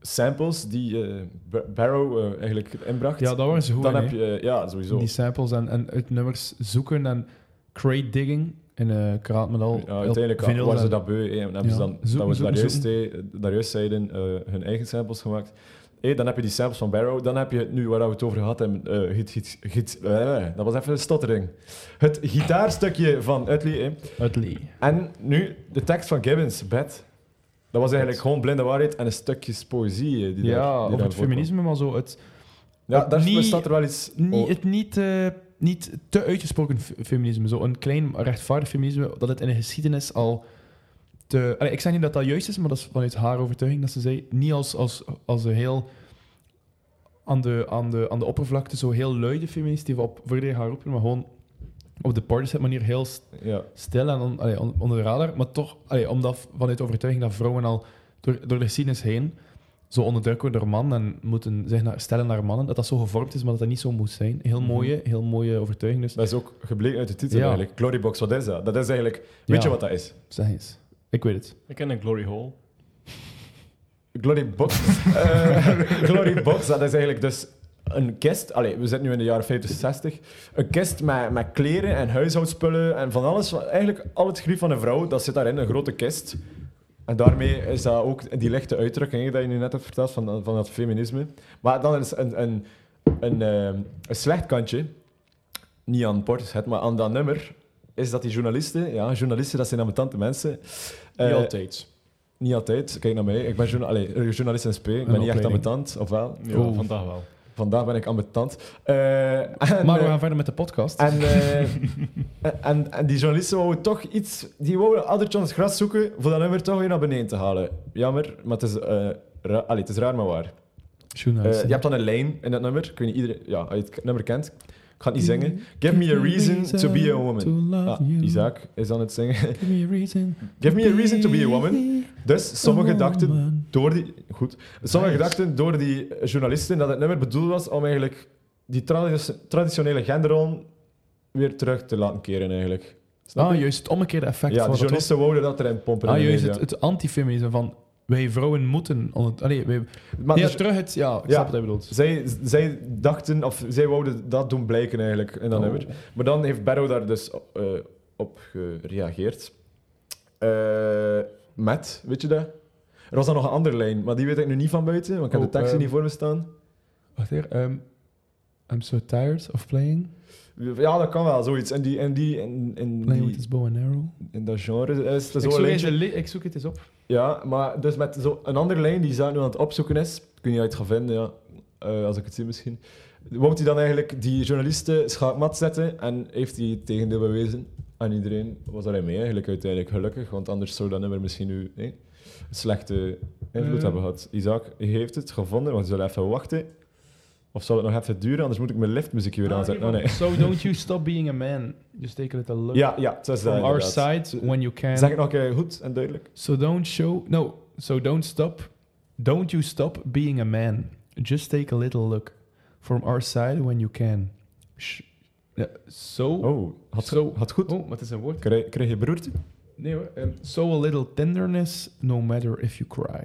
Speaker 4: samples die eh, Ba- Barrow eh, eigenlijk inbracht.
Speaker 3: Ja, dat waren ze goed
Speaker 4: dan
Speaker 3: in,
Speaker 4: heb
Speaker 3: hè.
Speaker 4: je, eh, ja, sowieso.
Speaker 3: Die samples en, en uit nummers zoeken en crate digging in eh kraat met al.
Speaker 4: Ja, uiteindelijk ah,
Speaker 3: al vinyls
Speaker 4: waren ze
Speaker 3: en-
Speaker 4: dat beu. hè, en hebben ze
Speaker 3: Ja,
Speaker 4: dan,
Speaker 3: zoeken,
Speaker 4: dat we
Speaker 3: zoeken,
Speaker 4: daar juist, hè, daar juist zeiden, eh, hun eigen samples gemaakt. Hé, dan heb je die samples van Barrow. Dan heb je het nu waar we het over gehad hebben. eh, giet- giet- giet- eh, dat was even een stottering. Het gitaarstukje van Utley. hè.
Speaker 3: Uit Lee.
Speaker 4: En nu de tekst van Gibbons, Bed. Dat was eigenlijk gewoon blinde waarheid en een stukje poëzie. eh, Die daar-
Speaker 3: Ja,
Speaker 4: die
Speaker 3: over
Speaker 4: daar
Speaker 3: het
Speaker 4: voorkwam.
Speaker 3: feminisme, maar zo het,
Speaker 4: Ja, daar
Speaker 3: Niet-
Speaker 4: staat er wel iets.
Speaker 3: niet,
Speaker 4: oh,
Speaker 3: het niet, eh, niet te uitgesproken f- feminisme. Zo een klein rechtvaardig feminisme, dat het in de geschiedenis al te... Allee, ik zeg niet dat dat juist is, maar dat is vanuit haar overtuiging dat ze zei. Niet als, als, als een heel... Aan de, aan, de, aan de oppervlakte zo heel luide feminist die op voordeel haar roepen, maar gewoon op de partisan manier heel
Speaker 4: ja.
Speaker 3: stil en on- allee, on- onder de radar, maar toch allee, omdat vanuit de overtuiging dat vrouwen al door, door de geschiedenis heen zo onderdrukt worden door mannen en moeten zich naar, stellen naar mannen, dat dat zo gevormd is, maar dat dat niet zo moet zijn. Heel
Speaker 4: Mhm.
Speaker 3: mooie, heel mooie overtuiging. Dus
Speaker 4: Dat is ook gebleken uit de titel
Speaker 3: Ja.
Speaker 4: eigenlijk. Glorybox, wat is dat? Dat is eigenlijk. Weet
Speaker 3: Ja.
Speaker 4: je wat dat is?
Speaker 3: zeg eens. Ik weet het.
Speaker 2: Ik ken een Glory Hole.
Speaker 4: Glory Box. Eh, Glory Box, dat is eigenlijk dus een kist. Allee, we zitten nu in de jaren 50, 60. Een kist met, met kleren en huishoudspullen en van alles. Eigenlijk al het grief van een vrouw, dat zit daarin, een grote kist. En daarmee is dat ook die lichte uitdrukking hè, dat je nu net hebt verteld van, dat- van dat feminisme. Maar dan is een, een, een, ehm, een slecht kantje, niet aan Portishead, maar aan dat nummer, is dat die journalisten, ja, journalisten, dat zijn ambetante mensen.
Speaker 2: Niet
Speaker 4: Eh,
Speaker 2: altijd.
Speaker 4: niet altijd. Kijk naar mij. Ik ben journa- allee, eh, journalist in SP. Ik ben
Speaker 3: Een
Speaker 4: niet echt
Speaker 3: opleiding.
Speaker 4: ambetant, of wel?
Speaker 2: Ja,
Speaker 3: Oeh.
Speaker 2: vandaag wel.
Speaker 4: Vandaag ben ik ambetant. Eh, en,
Speaker 3: Maar we
Speaker 4: eh,
Speaker 3: gaan verder met de podcast.
Speaker 4: en, eh, en, en die journalisten wouden toch iets... Die wouden addertje aan het gras zoeken voor dat nummer toch weer naar beneden te halen. Jammer, maar het is, eh, ra- allee, het is raar, maar waar. Eh,
Speaker 3: Journalisten.
Speaker 4: je hebt dan een lijn in dat nummer. Ik weet niet iedereen... Ja, als je het nummer kent. Ik ga het niet zingen. Give me a reason to be a woman. Ah, Isaac is aan het zingen.
Speaker 3: Give me a reason.
Speaker 4: Give me a reason to be a woman. Dus sommige dachten
Speaker 3: woman.
Speaker 4: door die, goed, sommige
Speaker 2: Nice.
Speaker 4: dachten door die journalisten dat het nummer bedoeld was om eigenlijk die tradi- traditionele genderrol weer terug te laten keren eigenlijk. Snap
Speaker 3: Ah,
Speaker 4: je?
Speaker 3: juist het omgekeerde effect van
Speaker 4: ja, de
Speaker 3: wat was.
Speaker 4: journalisten wouden dat erin pompen.
Speaker 3: Ah,
Speaker 4: in de
Speaker 3: juist het,
Speaker 4: media.
Speaker 3: het antifeminisme van wij vrouwen moeten. onder- Allee, wij,
Speaker 4: maar
Speaker 3: ja,
Speaker 4: dus
Speaker 3: terug het. Ja, ik
Speaker 4: Ja.
Speaker 3: snap wat hij bedoelt.
Speaker 4: zij, zij dachten, of zij wouden dat doen blijken eigenlijk in dat
Speaker 3: Oh.
Speaker 4: nummer. Maar dan heeft Barrow daar dus op, eh, op gereageerd. Eh, met, weet je dat? Er was dan nog een andere lijn, maar die weet ik nu niet van buiten, want ik heb
Speaker 3: Oh,
Speaker 4: de tekst hier
Speaker 3: ehm,
Speaker 4: niet voor me staan.
Speaker 3: Wacht hier. ehm, I'm so tired of playing.
Speaker 4: Ja, dat kan wel, zoiets. En die, en die, en, en
Speaker 3: Playing
Speaker 4: die-
Speaker 3: with this bow and arrow.
Speaker 4: in dat genre is het
Speaker 2: Ik
Speaker 4: zo
Speaker 2: zoek,
Speaker 4: een
Speaker 2: eens
Speaker 4: lijntje.
Speaker 2: een li- ik zoek het eens op.
Speaker 4: Ja, maar dus met zo een andere lijn die Zaak nu aan het opzoeken is. Ik weet niet of je het gaat vinden, ja. Eh, als ik het zie misschien. Wou hij dan eigenlijk die journalisten schaakmat zetten en heeft hij het tegendeel bewezen? En iedereen was daarin mee eigenlijk uiteindelijk, gelukkig. Want anders zou dat nummer misschien nu hè, een slechte invloed
Speaker 3: Mm.
Speaker 2: Eh.
Speaker 4: hebben gehad. Isaac heeft het gevonden, want we zullen even wachten. Of zal het nog even duren, anders moet ik mijn liftmuziekje
Speaker 3: Ah,
Speaker 4: weer aanzetten. Oh, nee.
Speaker 2: Zo
Speaker 1: So don't you stop being a man.
Speaker 3: Just take a little look
Speaker 4: Ja, ja, het is dat
Speaker 3: from our
Speaker 4: inderdaad.
Speaker 3: side when you can.
Speaker 4: Zeg het nog eh, goed en duidelijk.
Speaker 3: So don't show. No. So don't stop. Don't you stop being a man. Just take a little look from our side when you can. Sh ja, so.
Speaker 4: Oh, had,
Speaker 3: Zo.
Speaker 4: had goed.
Speaker 3: Oh, wat is een woord?
Speaker 4: Krijg, krijg je beroerte?
Speaker 3: Nee hoor. ehm, so a little tenderness, no matter if you cry.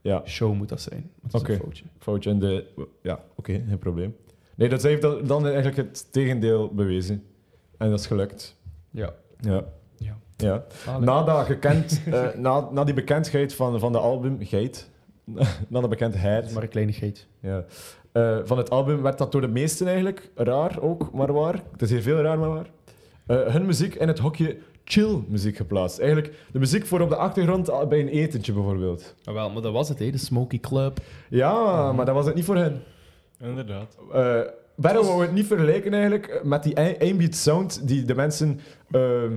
Speaker 4: Ja,
Speaker 3: Show moet dat zijn. want Dat is een
Speaker 4: Oké.
Speaker 3: foutje.
Speaker 4: foutje in de... Ja, oké, geen probleem. Nee, dat zij heeft dan- dan eigenlijk het tegendeel bewezen. En dat is gelukt.
Speaker 3: Ja.
Speaker 4: Ja.
Speaker 3: Ja.
Speaker 4: ja.
Speaker 3: Allee.
Speaker 4: Na, dat gekend, eh, na, na die bekendheid van, van de album, geit, na de
Speaker 3: Dat
Speaker 4: bekendheid
Speaker 3: is maar een kleinigheid.
Speaker 4: ja, eh, van het album werd dat door de meesten eigenlijk, raar ook, maar waar, het is hier veel raar, maar waar, eh, hun muziek in het hokje chill muziek geplaatst. Eigenlijk de muziek voor op de achtergrond ah, bij een etentje bijvoorbeeld.
Speaker 3: Ah, wel, maar dat was het, hè? de Smoky Club.
Speaker 4: Ja,
Speaker 3: Ah.
Speaker 4: maar dat was het niet voor hen.
Speaker 2: Inderdaad.
Speaker 4: Eh Barrow wou het niet vergelijken eigenlijk met die a- ambient sound die de mensen ehm,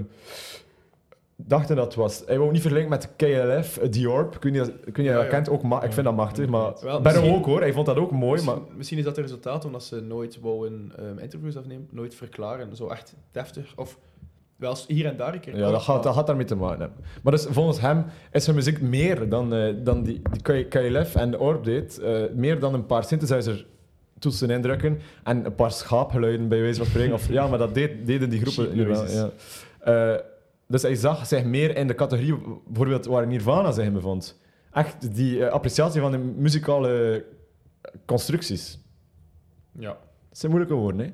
Speaker 4: dachten dat het was. Hij wou niet vergelijken met KLF, eh, Diorp. Ik weet niet, of- ik weet niet of je dat
Speaker 3: ja.
Speaker 4: kent, ook ma- ik vind dat machtig. Maar
Speaker 3: Wel,
Speaker 4: Barrow
Speaker 3: misschien-
Speaker 4: ook hoor, hij vond dat ook mooi. Maar
Speaker 3: misschien, misschien is dat het resultaat omdat ze nooit wouden ehm, interviews afnemen, nooit verklaren. Zo echt deftig. Of wel eens hier en daar een keer.
Speaker 4: ja, dat gaat, dat gaat daarmee te maken hebben. Maar dus volgens hem is zijn muziek meer dan, eh, dan die, die K- KLF en Orb deed. eh, meer dan een paar synthesizer toetsen indrukken en een paar schaapgeluiden bij wijze van spreken. Of, ja, maar dat deed, deden die groepen
Speaker 2: Sheep
Speaker 4: nu wel.
Speaker 2: noises.
Speaker 4: Ja. Eh, dus hij zag zich meer in de categorie bijvoorbeeld waar Nirvana zich in bevond. echt die eh, appreciatie van de muzikale constructies.
Speaker 3: Ja.
Speaker 4: Dat zijn moeilijke woorden, hè?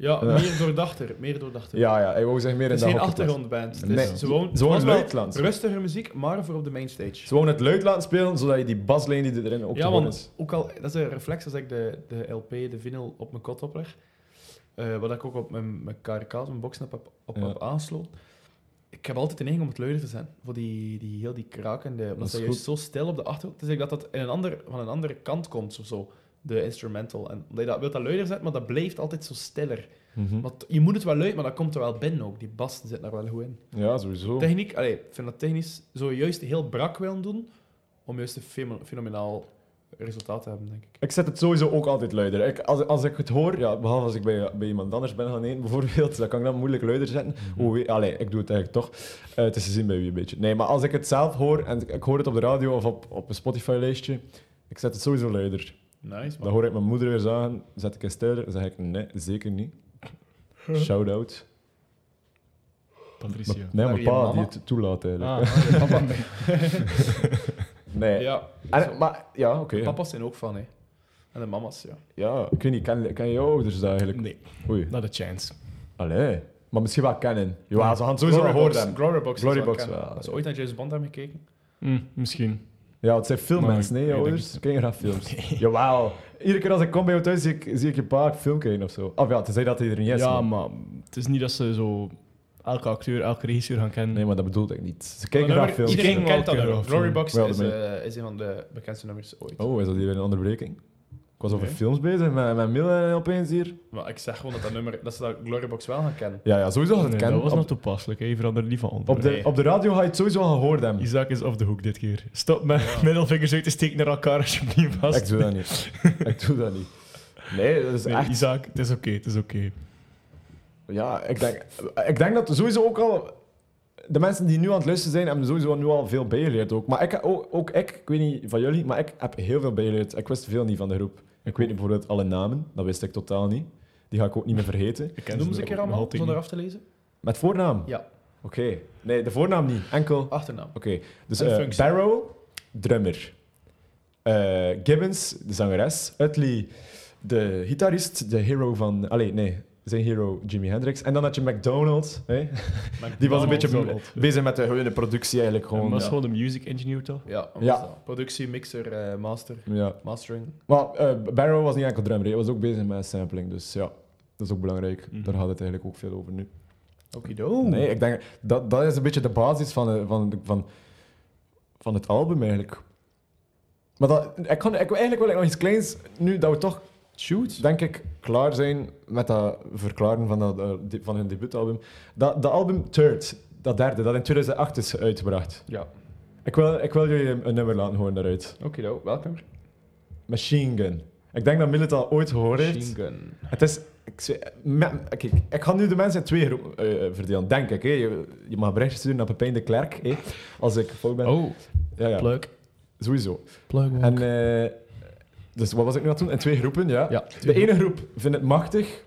Speaker 3: Ja,
Speaker 4: Ja.
Speaker 3: meer doordachter. Meer doordachter.
Speaker 4: Ja, ja, ik wou zeggen meer in
Speaker 3: Het is
Speaker 4: de
Speaker 3: geen
Speaker 4: hockeypers.
Speaker 3: achtergrondband. dus Het is
Speaker 4: Nee.
Speaker 3: gewoon,
Speaker 4: Ze wonen
Speaker 3: gewoon wel
Speaker 4: luid laten spelen.
Speaker 3: rustigere muziek, maar voor op de mainstage.
Speaker 4: Ze wonen Dus het luid laten spelen, zodat je die baslijn die erin ook te
Speaker 3: ja,
Speaker 4: horen
Speaker 3: want
Speaker 4: is.
Speaker 3: ook al, dat is een reflex als ik de, de LP, de vinyl op mijn kot opleg. eh, wat ik ook op mijn, mijn KRK, mijn boxnap op, op,
Speaker 4: Ja.
Speaker 3: op aansloot. Ik heb altijd de neiging om het luider te zijn. Voor die, die heel die krakende. Omdat
Speaker 4: is
Speaker 3: dat juist zo stil op de achtergrond. Het is like dat dat in een ander, van een andere kant komt of zo. De instrumental. En omdat je dat wilt dat luider zetten, maar dat blijft altijd zo stiller. Want je moet het wel luid, maar dat komt er wel binnen ook. Die bas zit daar wel goed in.
Speaker 4: Ja, sowieso.
Speaker 3: Techniek, allee, ik vind dat technisch zo juist heel brak willen doen. Om juist een femo- fenomenaal resultaat te hebben, denk ik.
Speaker 4: Ik zet het sowieso ook altijd luider. Ik, als, als ik het hoor, ja, behalve als ik bij, bij iemand anders ben gaan eten bijvoorbeeld, dan kan ik dat moeilijk luider zetten.
Speaker 3: Mhm.
Speaker 4: Hoe weet- allee, ik doe het eigenlijk toch. Eh, het is te zien bij wie een beetje. Nee, maar als ik het zelf hoor en ik, ik hoor het op de radio of op, op een Spotify-lijstje, ik zet het sowieso luider.
Speaker 3: Nice,
Speaker 4: Dan hoor ik mijn moeder weer zeggen, zet ik het stiller? Dan zeg ik, nee, zeker niet. Shout-out.
Speaker 2: Patricia.
Speaker 4: Nee,
Speaker 3: Naar
Speaker 4: mijn
Speaker 3: je
Speaker 4: pa
Speaker 3: mama?
Speaker 4: die het toelaat eigenlijk.
Speaker 2: Ah, ah, ja.
Speaker 4: Nee.
Speaker 3: Ja,
Speaker 4: En,
Speaker 3: zo.
Speaker 4: maar ja, oké. ja.
Speaker 3: papa's zijn ook van, hè. En de mama's, ja.
Speaker 4: Ja, ik weet niet, ken, ken je ouders dat eigenlijk?
Speaker 2: nee,
Speaker 4: Oei.
Speaker 2: not a chance.
Speaker 4: Allee. Maar misschien wel kennen. Ja, ze gaan het sowieso wel
Speaker 3: Glorybox-
Speaker 4: horen. hebben.
Speaker 3: Glorybox.
Speaker 4: Glorybox
Speaker 3: wel.
Speaker 4: wel,
Speaker 3: Als je
Speaker 4: ja.
Speaker 3: ooit naar James Bond hebt gekeken.
Speaker 2: Hm, misschien.
Speaker 4: Ja, het zijn filmmensen,
Speaker 2: Maar
Speaker 4: nee,
Speaker 2: ik- ik
Speaker 4: ouders?
Speaker 2: denk-
Speaker 4: Kijken graag films. Jawel. Iedere keer als ik kom bij jou thuis, zie ik, zie ik je pa een film kijken of zo. Of ja, tenzij dat hij er niet is.
Speaker 2: ja,
Speaker 4: maar-
Speaker 2: maar het is niet dat ze zo elke acteur, elke regisseur gaan kennen.
Speaker 4: Nee, maar dat bedoelde ik niet. Ze kijken
Speaker 3: Maar
Speaker 4: graag films.
Speaker 3: Iedereen
Speaker 2: King
Speaker 3: kent
Speaker 2: Walker
Speaker 3: dat nummer.
Speaker 2: of-
Speaker 3: Glorybox
Speaker 4: Wel,
Speaker 3: is,
Speaker 4: dat
Speaker 3: eh, is een van de bekendste nummers ooit.
Speaker 4: Oh, is dat hier een onderbreking? Ik was over
Speaker 3: Nee.
Speaker 4: films bezig met, met Mille opeens hier.
Speaker 3: Maar ik zeg gewoon dat dat nummer, dat ze dat Glorybox wel gaan kennen.
Speaker 4: Ja, ja sowieso had
Speaker 2: Nee, dat
Speaker 4: het kennen.
Speaker 2: was
Speaker 4: Op-
Speaker 2: nog toepasselijk. hè. Je veranderde niet van onder.
Speaker 4: op, de,
Speaker 3: Nee.
Speaker 4: op de radio ga je het sowieso al gehoord hebben.
Speaker 2: Isaac is off de hoek dit keer. Stop met middelvingers uit te steken naar elkaar alsjeblieft vast.
Speaker 4: Ik doe dat niet. ik doe dat niet. Nee, dat is
Speaker 2: Nee,
Speaker 4: echt...
Speaker 2: Isaac, het is oké, het is oké.
Speaker 4: Ja, ik denk, ik denk dat sowieso ook al. De mensen die nu aan het luisteren zijn, hebben sowieso nu al veel bijgeleerd ook. Maar ik, ook, ook ik, ik weet niet van jullie, maar ik heb heel veel bijgeleerd. Ik wist veel niet van de groep. Ik weet bijvoorbeeld alle namen, dat wist ik totaal niet. Die ga ik ook niet meer vergeten.
Speaker 2: Ik ken
Speaker 3: Noem ze een
Speaker 2: ook
Speaker 3: keer
Speaker 2: nog
Speaker 3: allemaal,
Speaker 2: altijd
Speaker 3: zonder
Speaker 2: niet.
Speaker 3: af te lezen.
Speaker 4: Met voornaam?
Speaker 3: Ja.
Speaker 4: Oké. Nee, de voornaam niet, enkel. Oké,
Speaker 3: Achternaam.
Speaker 4: dus
Speaker 3: En
Speaker 4: eh,
Speaker 3: functie.
Speaker 4: Barrow, drummer. Eh, Gibbons, de zangeres. Utley, de gitarist, de hero van. Allee, nee, zijn hero Jimi Hendrix. En dan had je McDonald's. Hè? Die was een beetje
Speaker 2: McDonald's.
Speaker 4: be- bezig met de gewone productie eigenlijk
Speaker 2: Maar
Speaker 4: gewoon.
Speaker 2: dat
Speaker 4: Ja.
Speaker 2: is gewoon de music engineer toch?
Speaker 3: Ja,
Speaker 4: Ja.
Speaker 3: ja. productie, mixer, eh, master, mastering.
Speaker 4: Maar eh, Barrow was niet enkel drummer, hij was ook bezig met sampling. Dus ja, dat is ook belangrijk.
Speaker 2: Mhm.
Speaker 4: Daar gaat het eigenlijk ook veel over nu.
Speaker 3: Okido.
Speaker 4: Nee, ik denk dat, dat is een beetje de basis van, eh, van, van, van het album eigenlijk. Maar dat, ik kan, ik, eigenlijk wil ik nog iets kleins, nu dat we toch,
Speaker 3: Shoot.
Speaker 4: denk ik, klaar zijn met dat verklaren van, dat, eh, de- van hun debuutalbum. Dat, dat album Third, dat derde, dat in 2008 is uitgebracht.
Speaker 3: Ja.
Speaker 4: Ik wil, ik wil jullie een, een nummer laten horen daaruit.
Speaker 3: Okido, welk nummer?
Speaker 4: Machine Gun. Ik denk dat Millet al ooit gehoord heeft.
Speaker 3: Machine Gun.
Speaker 4: Het is... Ik, zwe- me- kijk, ik ga nu de mensen in twee groepen eh, eh, verdelen, denk ik. Hè. Je, je mag berichtjes sturen naar Pepijn de Klerk, hè, als ik fout ben.
Speaker 2: Oh,
Speaker 4: ja, ja,
Speaker 2: plug.
Speaker 4: sowieso.
Speaker 2: Plug
Speaker 4: En, eh, dus wat was ik nu aan het doen? In twee groepen, ja.
Speaker 2: Ja,
Speaker 4: de ene groep vindt het machtig,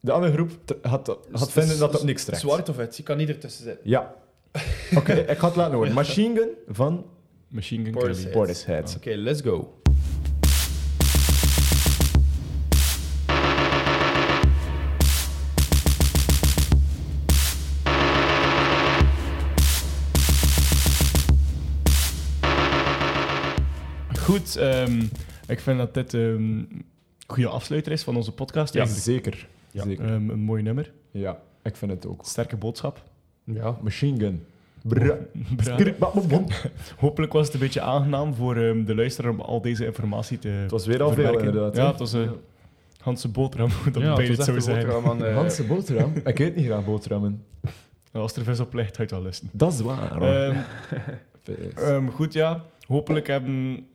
Speaker 4: de andere groep t- had, had vinden dat het niks trekt.
Speaker 3: Zwart of het, je kan niet ertussen zitten.
Speaker 4: Ja. Oké, ik ga het laten horen. Machine Gun van
Speaker 2: Machine Gun
Speaker 3: Boris
Speaker 2: Kelly.
Speaker 3: Head.
Speaker 4: Portishead.
Speaker 3: Oké, let's go.
Speaker 2: Goed, ehm, ik vind dat dit ehm, een goede afsluiter is van onze podcast.
Speaker 4: Ja,
Speaker 2: eigenlijk.
Speaker 4: zeker.
Speaker 3: Ja.
Speaker 4: zeker.
Speaker 2: Ehm, een mooi nummer,
Speaker 4: Ja, ik vind het ook.
Speaker 2: sterke boodschap.
Speaker 3: Ja.
Speaker 4: Machine Gun. Bra.
Speaker 2: Bra-
Speaker 4: Skripbababom.
Speaker 2: Hopelijk was het een beetje aangenaam voor ehm, de luisteraar om al deze informatie te
Speaker 4: Het was weer al veel,
Speaker 2: verwerken.
Speaker 4: inderdaad.
Speaker 2: Ja,
Speaker 4: hè.
Speaker 2: het was een Hanse boterham, moet dat bij het zo zijn.
Speaker 4: Eh, Hanse boterham? ik eet niet graag boterhammen.
Speaker 2: Als er vis op ligt, ga je het wel lusten.
Speaker 4: Dat is waar.
Speaker 3: Eh,
Speaker 2: Ehm, ehm, goed, ja. Hopelijk hebben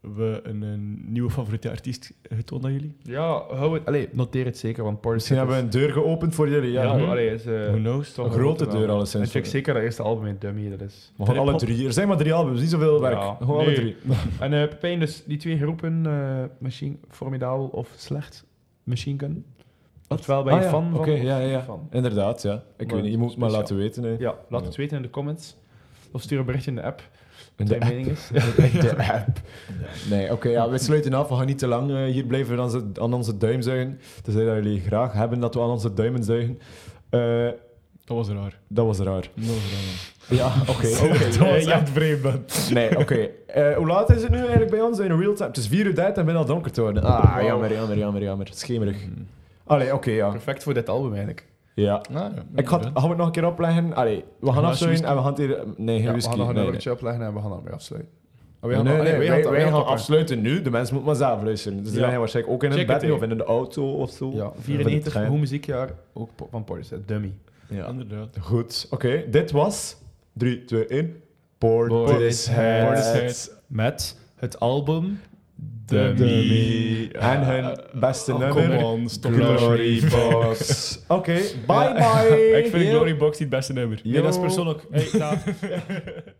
Speaker 2: we een, een nieuwe favoriete artiest getoond aan jullie.
Speaker 3: Ja, hou het. Allee, noteer het zeker, want Portishead.
Speaker 4: Misschien hebben we
Speaker 3: is-
Speaker 4: een deur geopend voor jullie. Ja.
Speaker 3: Ja,
Speaker 2: Mhm.
Speaker 3: allee, is, eh,
Speaker 2: Who knows?
Speaker 4: Een
Speaker 3: toch
Speaker 4: grote
Speaker 3: naam.
Speaker 4: deur, alleszins.
Speaker 3: En check zeker dat eerste album in Dummy, dat is.
Speaker 4: We gaan alle
Speaker 2: Trip-hop.
Speaker 4: drie. Er zijn maar drie albums, niet zoveel werk.
Speaker 3: Ja.
Speaker 4: Gewoon alle
Speaker 3: Nee.
Speaker 4: drie.
Speaker 3: En eh Pepijn, dus die twee groepen, eh, Machine Formidabel of Slecht, Machine Gun. Oftewel, ben je
Speaker 4: Ah, ja.
Speaker 3: fan van?
Speaker 4: Oké,
Speaker 3: of
Speaker 4: ja, ja, ja.
Speaker 3: fan?
Speaker 4: Inderdaad, ja. Ik
Speaker 3: Maar
Speaker 4: weet niet, je moet het maar
Speaker 3: speciaal.
Speaker 4: laten weten. hè.
Speaker 3: Ja, laat
Speaker 4: Ja.
Speaker 3: het weten in de comments. Of stuur een bericht in de app.
Speaker 4: In de
Speaker 5: Zijn mening is.
Speaker 4: De app. Nee, oké, ja, we sluiten af. We gaan niet te lang eh, hier blijven aan, ze- aan onze duim zuigen. Tenzij dat jullie graag hebben dat we aan onze duimen zuigen. Eh,
Speaker 2: Dat was raar.
Speaker 4: dat was raar.
Speaker 2: Dat was raar.
Speaker 4: Ja, oké. oké. Eh, ja.
Speaker 2: vreemd,
Speaker 4: Nee, oké. Eh, hoe laat is het nu eigenlijk bij ons in real time? Het is 4 uur tijd en ben al donker te worden. Ah,
Speaker 2: Wauw.
Speaker 4: jammer, jammer, jammer, jammer. Schemerig. Allee, oké, ja.
Speaker 1: Perfect voor dit album eigenlijk.
Speaker 4: ja.
Speaker 2: Nou, ja,
Speaker 4: Ik ga, het-
Speaker 2: inderdaad.
Speaker 4: gaan we het nog een keer opleggen? Allee, we gaan
Speaker 2: glaasje
Speaker 4: afzuigen
Speaker 2: whisky?
Speaker 4: en we gaan het hier... Nee, geen
Speaker 1: Ja, we
Speaker 4: whisky.
Speaker 1: gaan nog een
Speaker 4: nee, nee.
Speaker 1: nummertje opleggen en we gaan dan weer afsluiten. Oh,
Speaker 4: nee, nee,
Speaker 1: allee,
Speaker 4: wij,
Speaker 1: gaan het-
Speaker 4: wij
Speaker 1: gaan
Speaker 4: gaan
Speaker 1: het opleggen.
Speaker 4: afsluiten nu. De mensen moeten maar zelf luisteren. Dus die
Speaker 2: Ja.
Speaker 4: zijn waarschijnlijk ook in hun
Speaker 2: Check
Speaker 4: bed
Speaker 2: het
Speaker 4: nu of
Speaker 2: even.
Speaker 4: in de auto of zo.
Speaker 1: Ja,
Speaker 4: Van
Speaker 1: 94,
Speaker 4: de
Speaker 1: hoe
Speaker 4: trein.
Speaker 1: muziekjaar, ook po- van Portishead, Dummy.
Speaker 4: Ja.
Speaker 2: Inderdaad.
Speaker 4: Goed, oké. Dit was 3, 2, 1. Portishead.
Speaker 2: Portishead.
Speaker 1: Met het album
Speaker 2: Dummy.
Speaker 4: En hun beste
Speaker 2: Oh,
Speaker 4: nummer.
Speaker 2: Come on, stop
Speaker 4: Glory Box. Oké, bye bye.
Speaker 2: Ik vind Glory Box niet het beste nummer.
Speaker 4: Yo.
Speaker 5: Nee, dat is persoonlijk. Hey, Daan.